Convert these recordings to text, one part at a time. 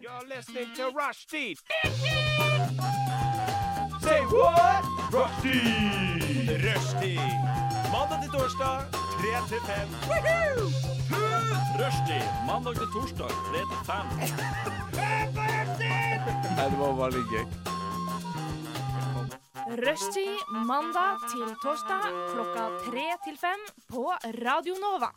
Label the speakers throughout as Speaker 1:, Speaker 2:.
Speaker 1: You're listening to Rushdie. Say what? Rushdie. Rushdie. Mandag til torsdag, 3 til 5. Rushdie. Mandag til torsdag, 3 til 5. det var veldig gøy.
Speaker 2: Rushtid mandag til torsdag klokka tre til fem på Radio Nova.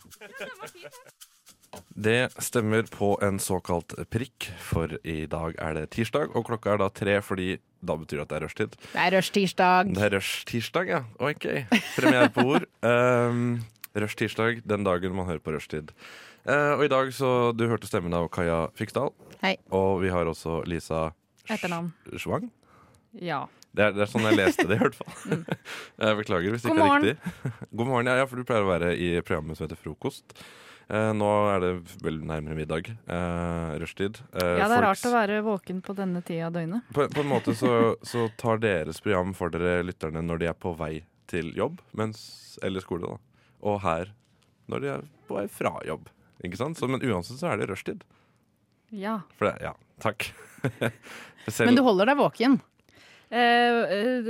Speaker 3: Det stemmer på en såkalt prikk, for i dag er det tirsdag, og klokka er da tre, fordi da betyr det at det er rushtid.
Speaker 4: Det er rushtirsdag.
Speaker 3: Det er rushtirsdag, ja. Ok. Premiere på ord. Um, rushtirsdag, den dagen man hører på rushtid. Eh, og i dag, så du hørte stemmen av Kaja Fiksdal,
Speaker 4: Hei.
Speaker 3: og vi har også Lisa Sch-
Speaker 4: Etternavn.
Speaker 3: Schwang.
Speaker 4: Ja.
Speaker 3: Det er, det er sånn jeg leste det, i hvert fall. Jeg beklager hvis det
Speaker 4: God
Speaker 3: ikke er
Speaker 4: morgen.
Speaker 3: riktig. God morgen. Ja, ja, for du pleier å være i programmet som heter Frokost. Eh, nå er det vel nærmere middag. Uh, rushtid. Eh,
Speaker 5: Ja, det er
Speaker 3: folks-
Speaker 5: rart å være våken på denne tida av døgnet.
Speaker 3: På, på en måte så, så tar deres program for dere lytterne når de er på vei til jobb, mens, eller skole, da. Og her når de er på vei fra jobb. Ikke sant? Så, men uansett så er det rushtid.
Speaker 5: Ja.
Speaker 3: For det, ja, takk. Selv,
Speaker 4: Men du holder deg våken
Speaker 5: Eh, eh,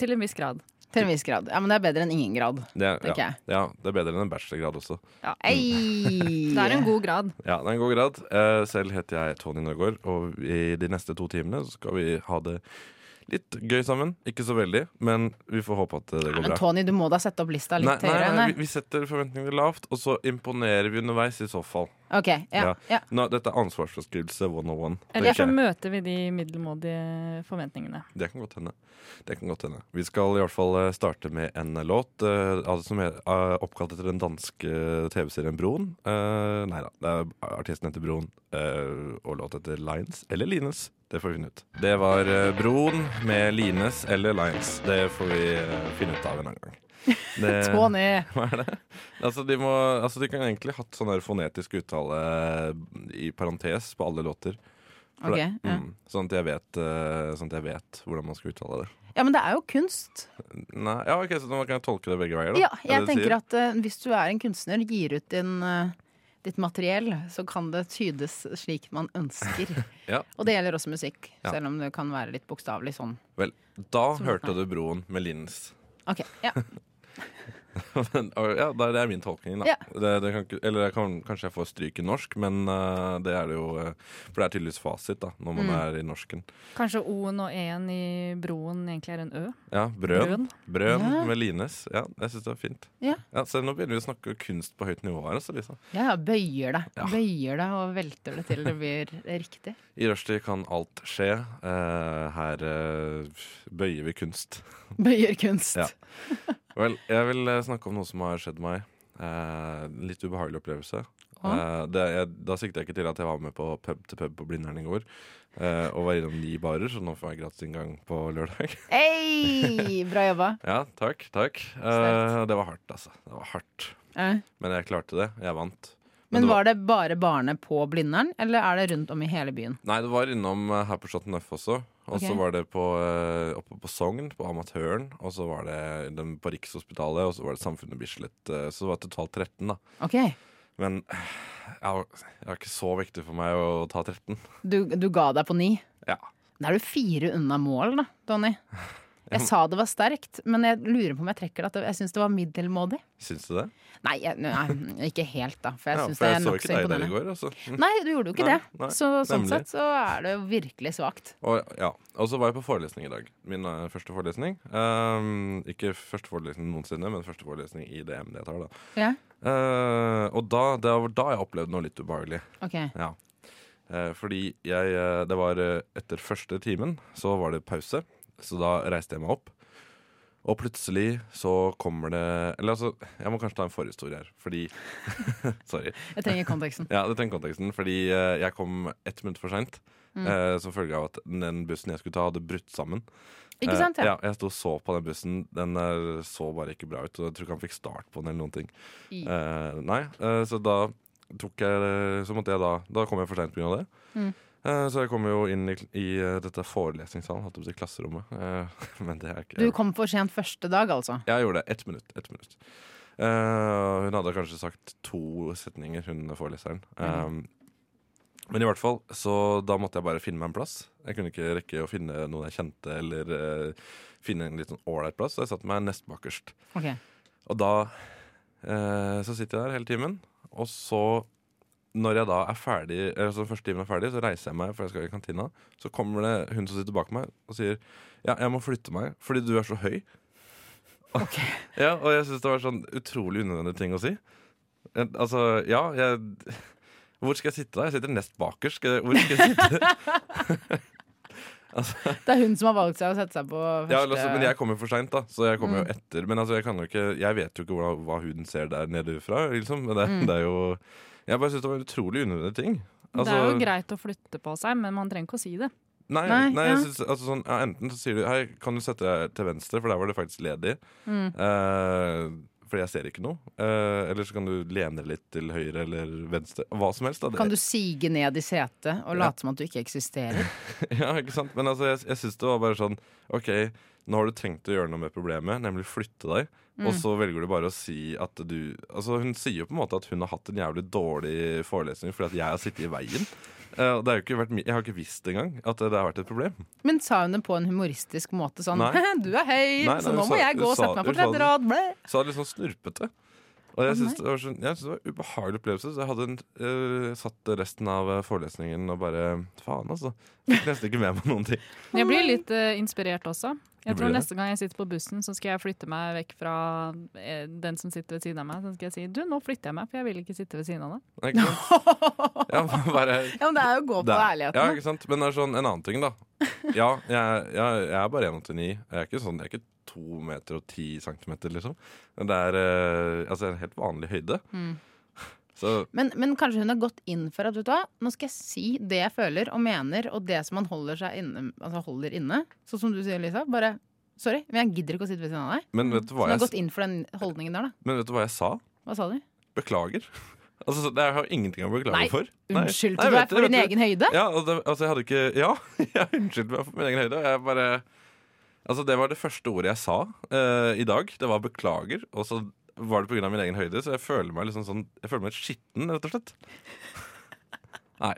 Speaker 5: til en viss grad.
Speaker 4: til en viss grad. Ja, Men det er bedre enn ingen grad.
Speaker 3: det, er-
Speaker 4: tenker
Speaker 3: ja,
Speaker 4: jeg.
Speaker 3: ja, det er bedre enn en bachelorgrad også.
Speaker 4: Ei.
Speaker 5: Det er en god grad.
Speaker 3: Ja, det er en god grad. Eh, selv heter jeg Tony Norgård, og i de neste to timene så skal vi ha det litt gøy sammen. Ikke så veldig, men vi får håpe at det
Speaker 4: Nei,
Speaker 3: går
Speaker 4: men
Speaker 3: bra.
Speaker 4: Tony, du må da sette opp lista
Speaker 3: Nei,
Speaker 4: litt
Speaker 3: nei,
Speaker 4: høyere.
Speaker 3: nei,
Speaker 4: enn
Speaker 3: vi-
Speaker 4: det.
Speaker 3: vi setter forventningene lavt, og så imponerer vi underveis i så fall.
Speaker 4: Ok, ja,
Speaker 3: Ja.
Speaker 4: ja.
Speaker 3: Nå, dette er ansvarsfraskrivelse 101.
Speaker 5: Eller
Speaker 3: tenker
Speaker 5: så
Speaker 3: jeg.
Speaker 5: møter vi de middelmådige forventningene.
Speaker 3: Det kan godt hende. Det kan godt hende. Vi skal i hvert fall eh, starte med en låt eh, altså som er eh, oppkalt etter den danske TV-serien Broen. Eh, nei da, det er artisten heter Broen, eh, og låt etter Lines eller Lines. Det får vi finne ut. Det var eh, Broen med Lines eller Lines. Det får vi eh, finne ut av en annen gang. Det-
Speaker 4: Tony.
Speaker 3: hva er det? Altså, de, må, altså, de kan egentlig hatt sånn der fonetisk uttale i parentes på alle låter. For
Speaker 4: Ok,
Speaker 3: det-
Speaker 4: ja.
Speaker 3: mm, sånn, at jeg vet, eh, sånn at jeg vet hvordan man skal uttale det.
Speaker 4: Ja, men det er jo kunst.
Speaker 3: Nei, ja, ok, Så man kan jeg tolke det begge veier, da?
Speaker 4: Ja,
Speaker 3: Er
Speaker 4: jeg
Speaker 3: det det du
Speaker 4: tenker
Speaker 3: sier?
Speaker 4: at eh, hvis du er en kunstner, gir ut din, eh, ditt materiell, så kan det tydes slik man ønsker.
Speaker 3: Ja.
Speaker 4: Og det gjelder også musikk,
Speaker 3: Ja.
Speaker 4: selv om det kan være litt bokstavelig sånn.
Speaker 3: Vel, da hørte du Broen med Lins.
Speaker 4: Ok, ja.
Speaker 3: Men, og ja, da- det er min tolkning, da.
Speaker 4: Ja.
Speaker 3: Det, det kan, ikke- eller jeg kan, kanskje jeg får stryk i norsk, men eh, det er det jo eh, For det er tydeligvis fasit da, når
Speaker 4: Mm.
Speaker 3: man er i norsken.
Speaker 5: Kanskje O-en og E-en i broen egentlig er en Ø?
Speaker 3: Ja, Brøn.
Speaker 5: Brøn.
Speaker 3: Brøn
Speaker 4: Ja.
Speaker 3: med Lines. Ja, jeg syns det var fint.
Speaker 4: Ja.
Speaker 3: så nå begynner vi å snakke kunst på høyt nivå her. Altså, Lisa.
Speaker 4: Ja, ja, bøyer det.
Speaker 3: Ja.
Speaker 4: Bøyer det og velter det til det blir riktig.
Speaker 3: I rushtid kan alt skje. Eh, her eh, bøyer vi kunst.
Speaker 4: Bøyer kunst.
Speaker 3: Ja. Vel, jeg vil eh, snakke om noe som har skjedd meg. Eh, litt ubehagelig opplevelse. Eh, det, jeg, da sikter jeg ikke til at jeg var med på pub til pub på Blindern i går. eh, og var innom ni barer, så nå får jeg gratisinngang på lørdag.
Speaker 4: Ei, bra jobba.
Speaker 3: ja, takk, takk. Eh,
Speaker 4: Sterkt.
Speaker 3: det var hardt, altså. Det var hardt.
Speaker 4: Eh,
Speaker 3: Men jeg klarte det. Jeg vant.
Speaker 4: Men
Speaker 3: det
Speaker 4: var det bare barene på Blindern, eller er det rundt om i hele byen?
Speaker 3: Nei, det var innom eh, her på Chateau Neuf også. Og så
Speaker 4: Ok.
Speaker 3: var det på, eh, oppe på Sogn, på Amatøren. Og så var det den på Rikshospitalet, og så var det Samfunnet Bislett. eh, Så det var totalt 13, da.
Speaker 4: Ok,
Speaker 3: Men eh, jeg var, jeg var ikke så viktig for meg å ta 13.
Speaker 4: du, du ga deg på ni.
Speaker 3: Ja.
Speaker 4: Da er du fire unna mål, da, Tony. Jeg sa det var sterkt, men jeg lurer på om jeg trekker det. at det- Jeg syns det var middelmådig.
Speaker 3: Syns du det?
Speaker 4: Nei, jeg, nei, ikke helt, da. For jeg
Speaker 3: ja,
Speaker 4: syns
Speaker 3: for
Speaker 4: det
Speaker 3: jeg
Speaker 4: er
Speaker 3: så ikke
Speaker 4: nokså
Speaker 3: deg der i
Speaker 4: imponerende.
Speaker 3: går, altså. Mm.
Speaker 4: Nei, du gjorde jo ikke
Speaker 3: Nei,
Speaker 4: det.
Speaker 3: nei,
Speaker 4: så sånn
Speaker 3: nemlig.
Speaker 4: sett så er det jo virkelig svakt.
Speaker 3: Og, ja. og så var jeg på forelesning i dag. Min eh, første forelesning. Ehm, ikke første forelesning noensinne, men første forelesning i det emnet jeg tar, da.
Speaker 4: Ja,
Speaker 3: Eh, og da, det var da jeg opplevde noe litt ubehagelig.
Speaker 4: ok.
Speaker 3: Ja. Eh, fordi jeg eh, Det var eh, etter første timen, så var det pause. Så da reiste jeg meg opp. Og plutselig så kommer det Eller altså, jeg må kanskje ta en forhistorie her, fordi Sorry.
Speaker 4: Jeg trenger konteksten.
Speaker 3: Ja, dette er den konteksten. Fordi eh, jeg kom ett minutt for seint.
Speaker 4: Mm.
Speaker 3: eh, Som følge av at den bussen jeg skulle ta, hadde brutt sammen.
Speaker 4: Ikke sant?
Speaker 3: Eh,
Speaker 4: Ja.
Speaker 3: ja, jeg sto og så på den bussen. Den eh, så bare ikke bra ut. Og jeg tror ikke han fikk start på den eller noen ting.
Speaker 4: I.
Speaker 3: Eh, nei, eh, så da tok jeg eh, Så måtte jeg da Da kom jeg for seint pga. det.
Speaker 4: Mm.
Speaker 3: Eh, så jeg kom jo inn i, kl- i eh, dette forelesningssalen, holdt jeg på å si, klasserommet. Eh, men det er ikke
Speaker 4: Du kom for sent første dag, altså.
Speaker 3: Jeg gjorde det. Ett minutt. Ett minutt. Eh, hun hadde kanskje sagt to setninger, hun foreleseren. Eh, Men i hvert fall, så da måtte jeg bare finne meg en plass. Jeg kunne ikke rekke å finne noen jeg kjente, eller eh, finne en litt sånn ålreit plass, så jeg satte meg nest bakerst.
Speaker 4: Ok.
Speaker 3: Og da eh, så sitter jeg der hele timen, og så når jeg da er ferdig, eller så første timen er ferdig, så reiser jeg meg, for jeg skal i kantina. Så kommer det hun som sitter bak meg og sier ja, jeg må flytte meg fordi du er så høy.
Speaker 4: Ok.
Speaker 3: ja, og jeg syns det var sånn utrolig unødvendig ting å si. Eh, Altså, ja, jeg Hvor skal jeg sitte da? Jeg sitter nest bakerst. Skal jeg- Hvor skal jeg sitte?
Speaker 4: Det er hun som har valgt seg å sette seg på første
Speaker 3: Ja, altså, men jeg kommer for seint, da. Så jeg kommer
Speaker 5: Mm.
Speaker 3: jo etter. Men altså, jeg, kan jo ikke, jeg vet jo ikke hva, hva huden ser der nede fra. Liksom. Men det, det er jo Jeg bare syns det var en utrolig unødvendig ting.
Speaker 5: Mm.
Speaker 3: Altså,
Speaker 5: det
Speaker 4: Altså-
Speaker 5: er jo greit å flytte på seg, men man trenger ikke å si det.
Speaker 3: Nei, nei,
Speaker 4: Nei,
Speaker 3: jeg
Speaker 4: ja.
Speaker 3: synes, altså, sånn, ja, enten så sier du Hei, kan du sette deg til venstre, for der var det faktisk ledig.
Speaker 5: Mm.
Speaker 3: Eh, fordi jeg ser ikke noe. Eh, eller så kan du lene deg litt til høyre eller venstre. Hva som helst. Da. Det-
Speaker 4: Kan du sige ned i setet
Speaker 3: Ja.
Speaker 4: og late som at du ikke eksisterer?
Speaker 3: Ja, ikke sant? Men altså, jeg, jeg syns det var bare sånn OK, nå har du tenkt å gjøre noe med problemet, nemlig flytte deg. Og så velger du bare å si at du Altså Hun sier jo på en måte at hun har hatt en jævlig dårlig forelesning fordi at jeg har sittet i veien. Eh, og det har jo ikke vært, mi- jeg har ikke visst engang at det har vært et problem.
Speaker 4: Men sa hun det på en humoristisk måte sånn
Speaker 3: Nei.
Speaker 4: Du er høy,
Speaker 3: Nei, nei,
Speaker 4: så
Speaker 3: hun
Speaker 4: nå må
Speaker 3: sa-
Speaker 4: jeg gå
Speaker 3: hun
Speaker 4: og
Speaker 3: sa-
Speaker 4: sette meg
Speaker 3: hun
Speaker 4: på
Speaker 3: sa
Speaker 4: tredje
Speaker 3: det. sånn.
Speaker 4: rad. Ble.
Speaker 3: Så det var litt sånn snurpete. Og jeg
Speaker 4: Å,
Speaker 3: syns det, var sånn, jeg synes det var en ubehagelig opplevelse. Så jeg hadde en, eh, satt resten av eh, forelesningen og bare Faen, altså. Fikk nesten ikke med meg noen ting.
Speaker 5: Men Jeg blir litt eh, inspirert også. Jeg
Speaker 3: Du
Speaker 5: tror
Speaker 3: blir det?
Speaker 5: Neste gang jeg sitter på bussen, så skal jeg flytte meg vekk fra eh, den som sitter ved siden av meg. Så skal jeg si du, nå flytter jeg meg, for jeg vil ikke sitte ved siden av deg.
Speaker 3: Ikke sant? Ja, bare,
Speaker 4: Ja, men det er jo å gå på
Speaker 3: Det er-
Speaker 4: ærligheten.
Speaker 3: Ja,
Speaker 4: da.
Speaker 3: ikke sant? Men det er sånn, en annen ting, da. Ja, jeg, jeg, jeg er bare 1,89. Jeg er ikke sånn, jeg er ikke 2 meter og 10 centimeter, liksom. Men det er eh, altså, en helt vanlig høyde.
Speaker 4: Mm.
Speaker 3: Så
Speaker 4: Men, men kanskje hun har gått inn for at vet du hva, nå skal jeg si det jeg føler og mener, og det som man holder, seg inne, altså holder inne. Sånn som du sier, Lisa. Bare sorry, men jeg gidder ikke å sitte ved siden av deg.
Speaker 3: men, vet du
Speaker 4: Så
Speaker 3: hva
Speaker 4: hun har
Speaker 3: jeg,
Speaker 4: gått inn for den holdningen der, da.
Speaker 3: men vet du hva jeg sa?
Speaker 4: Hva sa du?
Speaker 3: Beklager. Altså, så det jeg har ingenting å beklage
Speaker 4: Nei,
Speaker 3: for. Nei. Nei,
Speaker 4: Unnskyldte du
Speaker 3: vet
Speaker 4: deg for
Speaker 3: vet
Speaker 4: din egen høyde?
Speaker 3: Ja, og det, altså, jeg hadde ikke Ja, jeg unnskyldte meg for min egen høyde. og Jeg bare Altså, det var det første ordet jeg sa eh, i dag. Det var 'beklager'. Og så var det pga. min egen høyde, så jeg føler meg liksom sånn Jeg føler meg skitten, rett og slett. Nei.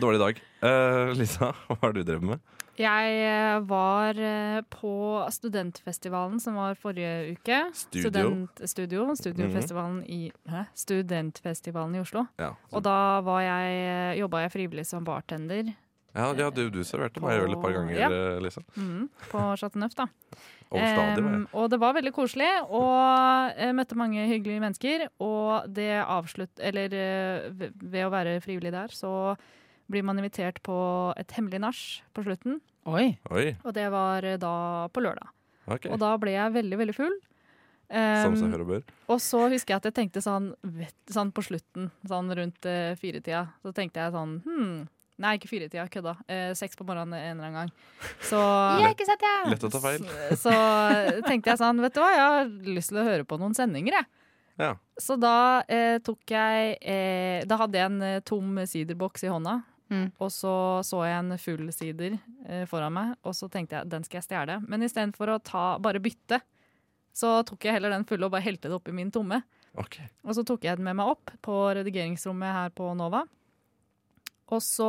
Speaker 3: Dårlig dag. Eh, Lisa, hva har du drevet med?
Speaker 5: Jeg eh, var eh, på studentfestivalen som var forrige uke.
Speaker 3: Studio.
Speaker 5: Studentstudio. Studiofestivalen i Hæ? Studentfestivalen i Oslo.
Speaker 3: Ja,
Speaker 5: Og da var jeg, eh, jobba jeg frivillig som bartender
Speaker 3: ja, ja du, du serverte meg øl et par ganger,
Speaker 5: Ja.
Speaker 3: eh, Lisa.
Speaker 5: mm, på Chateau Neuf, da.
Speaker 3: Over stadig, var jeg.
Speaker 5: Em, og det var veldig koselig, og jeg møtte mange hyggelige mennesker. Og det avslutt... Eller eh, ved- ved å være frivillig der, så blir man invitert på et hemmelig nach på slutten.
Speaker 4: Oi.
Speaker 3: Oi,
Speaker 5: Og det var eh, da på lørdag.
Speaker 3: ok.
Speaker 5: Og da ble jeg veldig, veldig full.
Speaker 3: Som
Speaker 5: Em,
Speaker 3: seg hør og bør.
Speaker 5: og så husker jeg at jeg tenkte sånn, vet, sånn på slutten, sånn rundt eh, firetida, så tenkte jeg sånn hmm, Nei, ikke firetida, kødda. Eh, seks på morgenen en eller annen gang. Så
Speaker 4: ikke sett det!
Speaker 3: Lett å ta feil.
Speaker 5: Så, så tenkte jeg sånn, vet du hva, jeg har lyst til å høre på noen sendinger, jeg.
Speaker 3: Ja.
Speaker 5: Så da eh, tok jeg eh, Da hadde jeg en eh, tom siderboks i hånda.
Speaker 4: Mm.
Speaker 5: Og så så jeg en full sider eh, foran meg, og så tenkte jeg den skal jeg stjele. Men istedenfor å ta, bare bytte, så tok jeg heller den fulle og bare helte det oppi min tomme.
Speaker 3: Ok.
Speaker 5: Og så tok jeg den med meg opp på redigeringsrommet her på Nova. Og så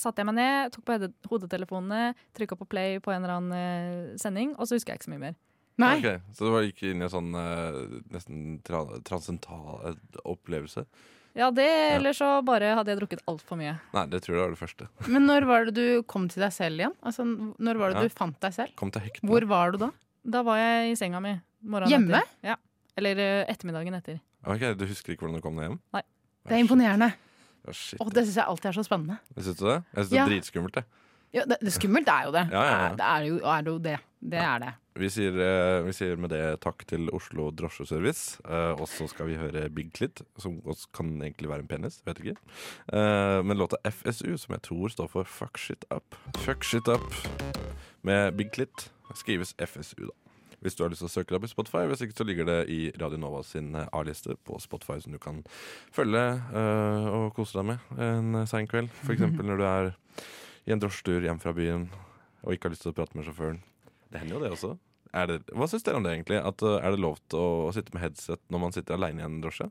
Speaker 5: satte jeg meg ned, tok på hode- hodetelefonene, trykka på play på en eller annen eh, sending, og så husker jeg ikke så mye mer.
Speaker 4: Nei.
Speaker 3: Ok, Så du var- gikk inn i en sånn eh, nesten tra transcendental eh, opplevelse?
Speaker 5: Ja, det, Eller så bare hadde jeg drukket altfor mye.
Speaker 3: Nei, det tror jeg var det første.
Speaker 4: Men når var det du kom til deg selv igjen? Altså, når var det du fant deg selv?
Speaker 3: Kom til hektene.
Speaker 4: Hvor var du da?
Speaker 5: Da var jeg i senga mi. morgenen
Speaker 4: Hjemme?
Speaker 5: Etter. Ja. Eller eh, ettermiddagen etter.
Speaker 3: Ok, Du husker ikke hvordan du kom deg hjem?
Speaker 5: Nei.
Speaker 4: Det er imponerende.
Speaker 3: Ja, shit.
Speaker 4: Og det syns jeg alltid er så spennende.
Speaker 3: Syns du det? Jeg syns det
Speaker 4: Ja.
Speaker 3: er dritskummelt. Jeg.
Speaker 4: Ja, det, det skummelt er jo det.
Speaker 3: Ja, ja, ja.
Speaker 4: Det er jo, er jo det. Det er det.
Speaker 3: Vi sier, eh, vi sier med det takk til Oslo Drosjeservice. eh, og så skal vi høre Big Clit, som også kan egentlig være en penis. Vet ikke. Eh, men låta FSU, som jeg tror står for Fuck Shit Up. Fuck Shit Up med Big Clit skrives FSU, da. Hvis du har lyst til å søke deg opp i Spotify, hvis ikke så ligger det i Radio Nova sin eh, A-liste på Spotify, som du kan følge eh, og kose deg med en sein kveld. F.eks. når du er i en drosjetur hjem fra byen og ikke har lyst til å prate med sjåføren. Det hender jo det også. Er det, hva syns dere om det, egentlig? At, uh, er det lov til å, å sitte med headset når man sitter aleine i en drosje?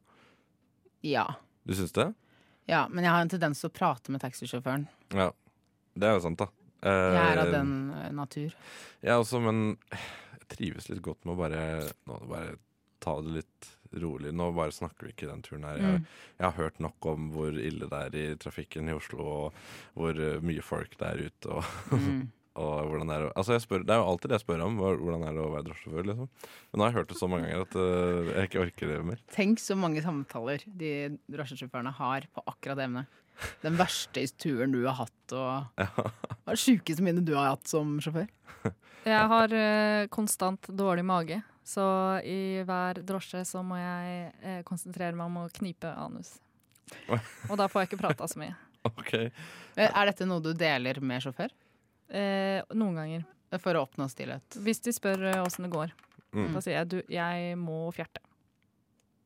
Speaker 4: Ja.
Speaker 3: Du syns det?
Speaker 4: Ja, men jeg har en tendens til å prate med taxisjåføren.
Speaker 3: Ja, det er jo sant, da. Eh,
Speaker 4: Jeg er av den eh, natur.
Speaker 3: Jeg også, men jeg trives litt godt med å bare, nå, bare ta det litt rolig. Nå bare snakker vi ikke den turen her. Jeg,
Speaker 4: Mm.
Speaker 3: jeg har hørt nok om hvor ille det er i trafikken i Oslo, og hvor eh, mye folk det er ute. Og,
Speaker 4: Mm.
Speaker 3: og hvordan Det er å- altså jeg spør, Det er jo alltid det jeg spør om, hva- hvordan er det å være drosjesjåfør. Liksom. Men nå har jeg hørt det så mange ganger at eh, jeg ikke orker det mer.
Speaker 4: Tenk så mange samtaler de drosjesjåførene har på akkurat det emnet. Den verste turen du har hatt, og hva er det sjukeste minnet du har hatt som sjåfør?
Speaker 5: Jeg har eh, konstant dårlig mage, så i hver drosje så må jeg eh, konsentrere meg om å knipe anus. Og da får jeg ikke prata så mye.
Speaker 3: Ok,
Speaker 4: Eh, Er dette noe du deler med sjåfør?
Speaker 5: Eh, noen ganger.
Speaker 4: For å oppnå stillhet.
Speaker 5: Hvis de spør eh, åssen det går,
Speaker 3: Mm.
Speaker 5: da sier jeg du, jeg må fjerte.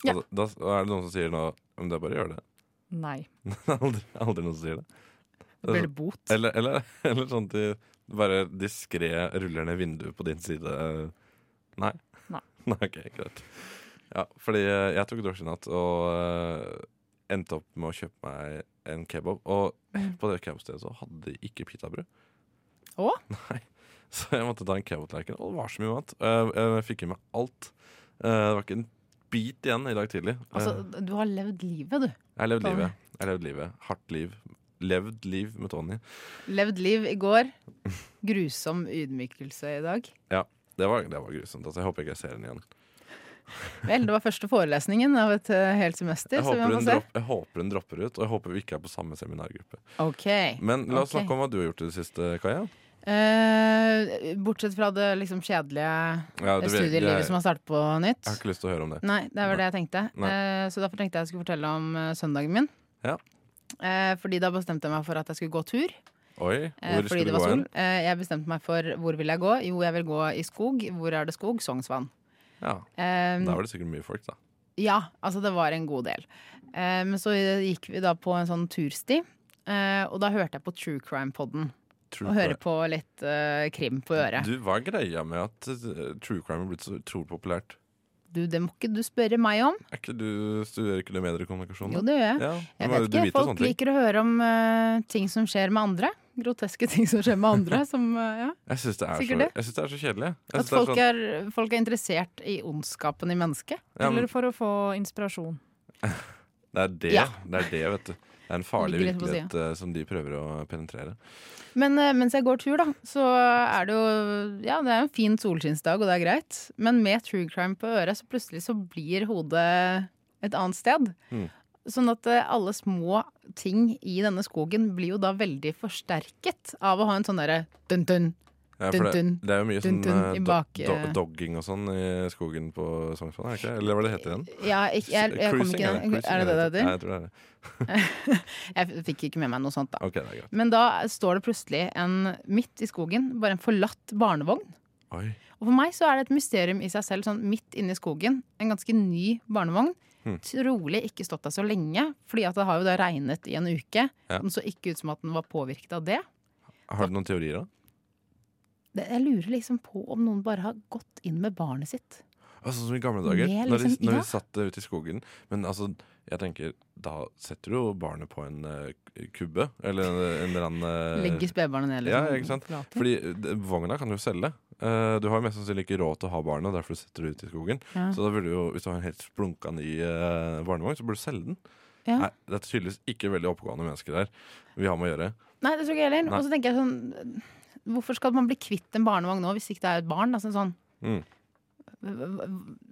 Speaker 4: Ja.
Speaker 3: Og Altså, da, da er det noen som sier nå Men det er bare å gjøre det.
Speaker 5: Nei.
Speaker 3: Det er aldri, aldri noen som sier det.
Speaker 4: Blir det bot?
Speaker 3: Eller, eller, eller sånn at de bare diskré ruller ned vinduet på din side. Nei?
Speaker 5: Nei.
Speaker 3: ok, greit. Ja, fordi eh, jeg tok drosje i natt og eh, endte opp med å kjøpe meg en kebab. Og på det kebabstedet så hadde de ikke pitabrød.
Speaker 4: Mm. Å?
Speaker 3: Nei. Så jeg måtte ta en kebabtallerken, og det var så mye mat. Og jeg, jeg fikk i meg alt. Eh, Det var ikke en bit igjen i dag tidlig. Eh,
Speaker 4: Altså, du har levd livet, du.
Speaker 3: jeg har levd
Speaker 5: Tony.
Speaker 3: livet. Jeg har levd livet. Hardt liv. Levd liv med Tony.
Speaker 4: Levd liv i går. Grusom ydmykelse i dag.
Speaker 3: Det var, det var grusomt. Altså, jeg håper ikke jeg ser den igjen.
Speaker 4: Vel, det var første forelesningen av et eh, helt semester,
Speaker 3: Jeg
Speaker 4: så vi
Speaker 3: håper,
Speaker 4: må
Speaker 3: hun
Speaker 4: få se.
Speaker 3: dropp, jeg håper hun dropper ut, og jeg håper vi ikke er på samme seminargruppe.
Speaker 4: Ok.
Speaker 3: Men la oss
Speaker 4: Ok.
Speaker 3: snakke om hva du har gjort i det siste, Kaja.
Speaker 4: Eh, bortsett fra det liksom kjedelige
Speaker 3: Ja, du vet- jeg,
Speaker 4: studielivet som
Speaker 3: jeg
Speaker 4: har startet på nytt.
Speaker 3: har ikke lyst til å høre om det.
Speaker 4: Nei, det var
Speaker 3: Nei.
Speaker 4: det jeg tenkte.
Speaker 3: Nei.
Speaker 4: Eh, så derfor tenkte jeg jeg skulle fortelle om eh, søndagen min.
Speaker 3: Ja.
Speaker 4: Eh, fordi da bestemte jeg meg for at jeg skulle gå tur.
Speaker 3: Oi,
Speaker 4: eh,
Speaker 3: hvor
Speaker 4: fordi
Speaker 3: skulle
Speaker 4: det
Speaker 3: du
Speaker 4: var
Speaker 3: gå
Speaker 4: sol.
Speaker 3: hen?
Speaker 4: Eh, jeg bestemte meg for hvor vil jeg gå. Jo, jeg vil gå i skog. Hvor er det skog? Sognsvann.
Speaker 3: Ja,
Speaker 4: Eh,
Speaker 3: Da var det sikkert mye folk, da.
Speaker 4: ja, altså det var en god del. Eh, men så gikk vi da på en sånn tursti. Eh, og da hørte jeg på True Crime-podden.
Speaker 3: True
Speaker 4: Og
Speaker 3: crime.
Speaker 4: hører på litt eh, krim på øret.
Speaker 3: Du, Hva er greia med at eh, true crime er blitt så utrolig populært?
Speaker 4: Du, det må ikke du spørre meg om.
Speaker 3: Er ikke du, Studerer ikke du mediekommunikasjon? Sånn, da?
Speaker 4: Jo, det gjør jeg.
Speaker 3: Ja,
Speaker 4: Jeg
Speaker 3: men
Speaker 4: vet
Speaker 3: du
Speaker 4: ikke,
Speaker 3: vet jo sånne
Speaker 4: Folk
Speaker 3: ting.
Speaker 4: liker å høre om eh, ting som skjer med andre. Groteske ting som skjer med andre. Som, eh, ja.
Speaker 3: Jeg syns det, er
Speaker 4: Sikkert
Speaker 3: så-
Speaker 4: det.
Speaker 3: jeg synes det er så kjedelig. jeg. Jeg
Speaker 4: At
Speaker 3: synes det er
Speaker 4: folk
Speaker 3: sånn-
Speaker 4: er, folk er interessert i ondskapen i mennesket.
Speaker 3: ja, men
Speaker 5: Eller for å få inspirasjon.
Speaker 3: det er det,
Speaker 4: Ja.
Speaker 3: det er det, vet du. Det er en farlig
Speaker 4: Ligger litt på
Speaker 3: virkelighet eh, som de prøver å penetrere.
Speaker 4: Men eh, mens jeg går tur, da, så er det jo Ja, det er en fin solskinnsdag, og det er greit. Men med true crime på øret, så plutselig så blir hodet et annet sted.
Speaker 3: Mm.
Speaker 4: Sånn at eh, alle små ting i denne skogen blir jo da veldig forsterket av å ha en sånn derre dun-dun,
Speaker 3: Ja, for det,
Speaker 4: dun-dun.
Speaker 3: det er jo mye sånn
Speaker 4: Dun, dun,
Speaker 3: eh,
Speaker 4: i
Speaker 3: do-
Speaker 4: bak,
Speaker 3: do,
Speaker 4: eh.
Speaker 3: dogging og sånn i skogen på Sognsvann, er det ikke? Eller hva det heter igjen?
Speaker 4: Ja, jeg, jeg, jeg kom ikke
Speaker 3: Cruising,
Speaker 4: Er det det det heter?
Speaker 3: Ja, jeg tror det er det.
Speaker 4: Jeg fikk ikke med meg noe sånt da.
Speaker 3: Ok, det er greit.
Speaker 4: Men da står det plutselig en midt i skogen, bare en forlatt barnevogn.
Speaker 3: Oi.
Speaker 4: Og for meg så er det et mysterium i seg selv, sånn midt inne i skogen. En ganske ny barnevogn.
Speaker 3: Hmm.
Speaker 4: Trolig ikke stått der så lenge, fordi at det har jo da regnet i en uke.
Speaker 3: Ja.
Speaker 4: Den så ikke ut som at den var påvirket av det.
Speaker 3: Har du noen teorier, da?
Speaker 4: det. Jeg lurer liksom på om noen bare har gått inn med barnet sitt.
Speaker 3: Altså, som i gamle dager,
Speaker 4: Mer
Speaker 3: når,
Speaker 4: liksom-
Speaker 3: vi, når
Speaker 4: ja.
Speaker 3: vi satt eh, ute i skogen. Men altså, jeg tenker, da setter du jo barnet på en eh, kubbe, eller en, en eller annen eh,
Speaker 4: Legger spedbarnet ned. liksom,
Speaker 3: ja, ikke sant?
Speaker 4: Forlater.
Speaker 3: Fordi eh, vogna kan du jo selge. Eh, du har jo mest sannsynlig ikke råd til å ha barnet, og derfor setter du det ut i skogen.
Speaker 4: Ja.
Speaker 3: Så da burde du jo, hvis du har en helt splunka ny eh, barnevogn, så burde du selge den.
Speaker 4: Ja.
Speaker 3: Nei, det er tydeligvis ikke veldig oppegående mennesker der vi har med å gjøre.
Speaker 4: Nei, det tror ikke jeg heller.
Speaker 3: Nei.
Speaker 4: Og så tenker jeg sånn Hvorfor skal man bli kvitt en barnevogn nå hvis ikke det er et barn? Altså sånn
Speaker 3: Mm.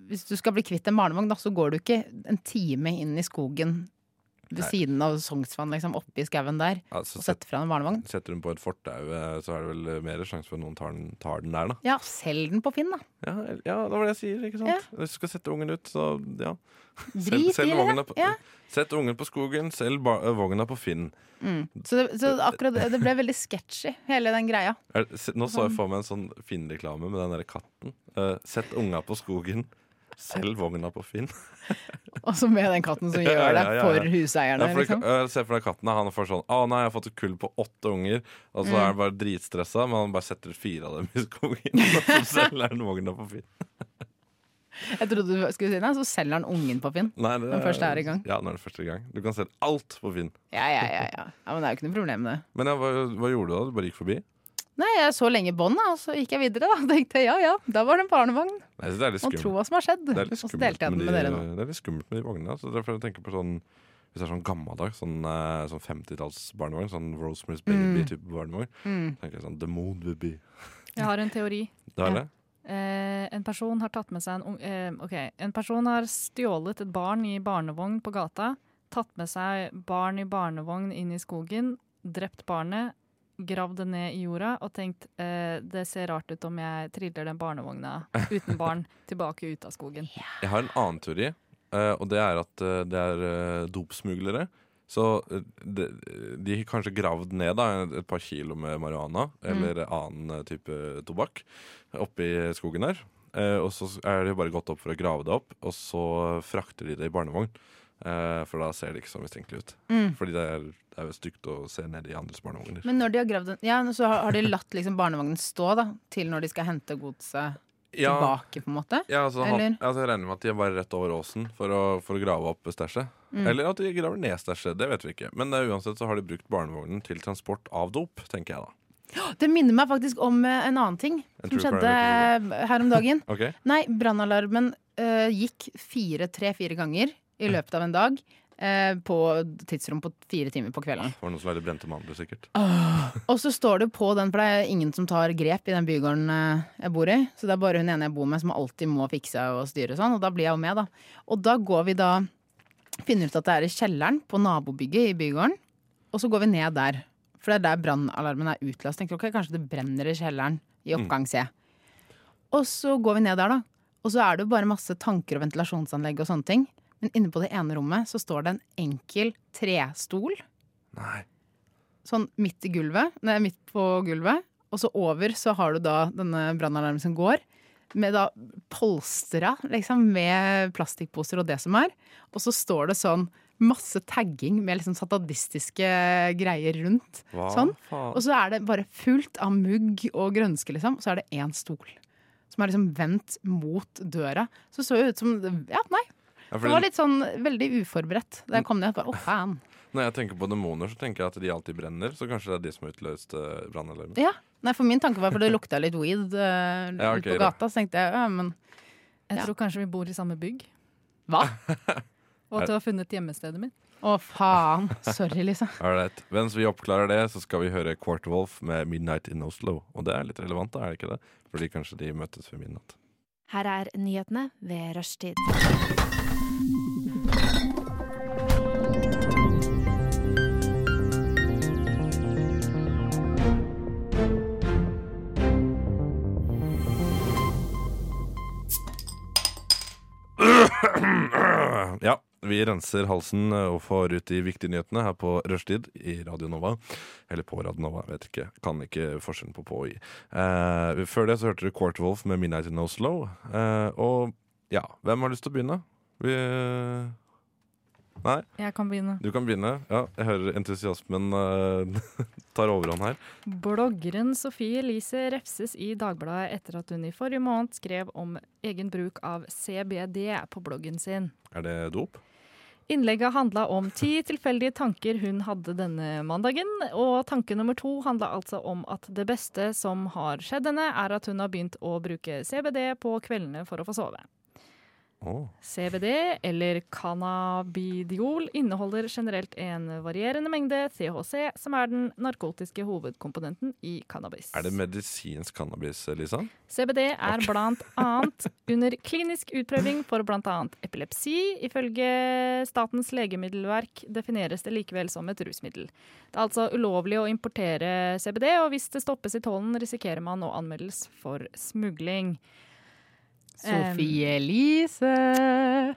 Speaker 4: Hvis du skal bli kvitt en barnevogn, da, så går du ikke en time inn i skogen ved
Speaker 3: Nei.
Speaker 4: siden av Sognsvann, liksom, oppi skauen der,
Speaker 3: Altså, set,
Speaker 4: og setter fra deg en barnevogn.
Speaker 3: setter hun på et fortau, eh, så er det vel mer sjanse for at noen tar den, tar den der, da.
Speaker 4: Ja, selg den på Finn, da.
Speaker 3: Ja, el- ja, det var det jeg sier, ikke sant? Hvis du skal sette ungen ut, så ja. Sel-
Speaker 4: Drit i
Speaker 3: selg
Speaker 4: det.
Speaker 3: vogna på,
Speaker 4: Ja.
Speaker 3: Sett ungen på skogen, selg ba- eh, vogna på Finn.
Speaker 4: Mm. Så, det, så akkurat det- det ble veldig sketchy, hele den greia.
Speaker 3: Er, det- se, nå så jeg for meg en sånn Finn-reklame med den derre katten. Eh, sett unga på skogen, selg vogna på Finn.
Speaker 4: Og så med den katten som
Speaker 3: Ja,
Speaker 4: gjør
Speaker 3: ja,
Speaker 4: det
Speaker 3: ja, ja.
Speaker 4: for
Speaker 3: Ja,
Speaker 4: huseierne,
Speaker 3: for det-
Speaker 4: liksom.
Speaker 3: eh, Se for deg katten. Han får sånn 'Å nei, jeg har fått et kull på åtte unger.' Og
Speaker 4: Mm.
Speaker 3: så er han bare dritstressa, men han bare setter fire av dem i skogen. Og så selger han vogna på Finn.
Speaker 4: Jeg trodde du skulle si det, så selger han ungen på Finn.
Speaker 3: Nei, det
Speaker 4: Når den første er i gang.
Speaker 3: Ja, når den første er i gang. Du kan selge alt på Finn.
Speaker 4: Ja, ja, ja, ja. ja Men det er jo ikke noe problem, det.
Speaker 3: Men ja, hva, hva gjorde du da? Du bare gikk forbi?
Speaker 4: Nei, jeg så lenge bånd, da, og så gikk jeg videre. da Tenkte jeg, ja ja, da var det en barnevogn.
Speaker 3: Nei, jeg synes det er litt
Speaker 4: Man
Speaker 3: skummelt.
Speaker 4: tror hva som har skjedd.
Speaker 3: Det er
Speaker 4: Og
Speaker 3: litt
Speaker 4: så
Speaker 3: skummelt
Speaker 4: delte jeg den med
Speaker 3: de,
Speaker 4: dere nå.
Speaker 3: Det er litt skummelt med de vognene. Så derfor jeg tenker på sånn Hvis det er sånn gammeldags, sånn, eh, sånn 50-talls barnevogn, sånn Rosemary's Baby-type barnevogn,
Speaker 4: Mm.
Speaker 3: tenker jeg sånn Demon Baby.
Speaker 5: Jeg har en teori.
Speaker 3: Det er
Speaker 4: Ja.
Speaker 3: det.
Speaker 5: Eh, en person har tatt med seg en ung... Eh, ok, en person har stjålet et barn i barnevogn på gata, tatt med seg barn i barnevogn inn i skogen, drept barnet, gravd det ned i jorda og tenkt eh, det ser rart ut om jeg triller den barnevogna uten barn tilbake ut av skogen.
Speaker 3: Jeg har en annen teori, eh, og det er at eh, det er eh, dopsmuglere. Så eh, de, de har kanskje gravd ned da, et par kilo med marihuana eller annen eh, type tobakk oppi skogen der. Eh, og så er de bare gått opp for å grave det opp, og så frakter de det i barnevogn. Eh, for da ser det ikke så mistenkelig ut.
Speaker 4: Mm.
Speaker 3: Fordi det er, det er jo stygt å se ned i andres barnevogner.
Speaker 4: Men når de har gravd den, ja, så har har de latt liksom barnevognen stå da til når de skal hente godset
Speaker 3: Ja,
Speaker 4: tilbake, på en måte.
Speaker 3: ja, altså, han,
Speaker 4: Eller?
Speaker 3: altså, jeg regner med at de er bare rett over åsen for å, for å grave opp stæsjet.
Speaker 4: Mm.
Speaker 3: Eller at de graver ned stæsjet. Det vet vi ikke. Men eh, uansett så har de brukt barnevognen til transport av dop, tenker jeg da.
Speaker 4: Det minner meg faktisk om eh, en annen ting
Speaker 3: En
Speaker 4: som
Speaker 3: true crime
Speaker 4: skjedde eh, her om dagen.
Speaker 3: Ok?
Speaker 4: Nei, brannalarmen eh, gikk fire, tre-fire ganger i løpet av en dag. eh, På tidsrom på fire timer på kvelden.
Speaker 3: Det var noen som lagde brente mandler, sikkert.
Speaker 4: Ah. Og så står det på den, for det er ingen som tar grep i den bygården eh, jeg bor i. Så det er bare hun ene jeg bor med som alltid må fikse og styre og sånn, og da blir jeg jo med, da. Og da går vi da Finner ut at det er i kjelleren på nabobygget i bygården, og så går vi ned der. For det er der brannalarmen er utløst. Tenker ok, kanskje det brenner i kjelleren i oppgang C. Og så går vi ned der, da. Og så er det jo bare masse tanker og ventilasjonsanlegg og sånne ting. Men inne på det ene rommet så står det en enkel trestol
Speaker 3: Nei.
Speaker 4: sånn midt i gulvet, nei, midt på gulvet, og så over så har du da denne brannalarmen som går, med da polstra, liksom, med plastikkposer og det som er. Og så står det sånn masse tagging med liksom satadistiske greier rundt.
Speaker 3: Hva
Speaker 4: Sånn. Og
Speaker 3: faen?
Speaker 4: så er det bare fullt av mugg og grønske, liksom. Og så er det én stol. Som er liksom vendt mot døra. Så det så jo ut som Ja, nei.
Speaker 3: Ja,
Speaker 4: Det
Speaker 3: fordi
Speaker 4: var litt sånn veldig uforberedt da jeg kom ned. Jeg Bare, å, faen.
Speaker 3: Når jeg tenker på demoner, så tenker jeg at de alltid brenner. Så kanskje det er de som har utløst eh, brannalarmen.
Speaker 4: Ja, Nei, for min tanke var for det lukta litt weed eh,
Speaker 3: Ja, ok,
Speaker 4: ut på
Speaker 3: da.
Speaker 4: gata. Så tenkte jeg ja, men
Speaker 5: Jeg
Speaker 4: Ja.
Speaker 5: tror kanskje vi bor i samme bygg,
Speaker 4: hva?
Speaker 5: og at du har funnet hjemmestedet mitt.
Speaker 4: Å, faen. Sorry, liksom.
Speaker 3: Alright. Mens vi oppklarer det, så skal vi høre Quarterwolf med 'Midnight in Oslo'. Og det er litt relevant, da, er det ikke det? Fordi kanskje de møtes ved midnatt.
Speaker 6: Her er nyhetene ved rushtid.
Speaker 3: Ja, vi renser halsen eh, og får ut de viktige nyhetene her på rushtid i Radio Nova. Eller på Radio Nova, vet ikke. Kan ikke forskjellen på på og i. Eh, før det så hørte du Quarterwolf med 'Midnight in Oslo'. Eh, og ja, hvem har lyst til å begynne? Vi Nei,
Speaker 5: Jeg kan begynne.
Speaker 3: du kan begynne. Ja, jeg hører entusiasmen eh, tar overhånd her.
Speaker 5: Bloggeren Sofie Elise refses i Dagbladet etter at hun i forrige måned skrev om egen bruk av CBD på bloggen sin.
Speaker 3: Er det dop?
Speaker 5: Innlegget handla om ti tilfeldige tanker hun hadde denne mandagen. Og tanke nummer to handla altså om at det beste som har skjedd henne, er at hun har begynt å bruke CBD på kveldene for å få sove.
Speaker 3: Åh.
Speaker 5: CBD, eller cannabidiol, inneholder generelt en varierende mengde THC, som er den narkotiske hovedkomponenten i cannabis.
Speaker 3: Er det medisinsk cannabis, Lisa?
Speaker 5: CBD er blant annet under klinisk utprøving for blant annet epilepsi. Ifølge Statens legemiddelverk defineres det likevel som et rusmiddel. Det er altså ulovlig å importere CBD, og hvis det stoppes i tollen, risikerer man å anmeldes for smugling.
Speaker 4: Sofie Elise.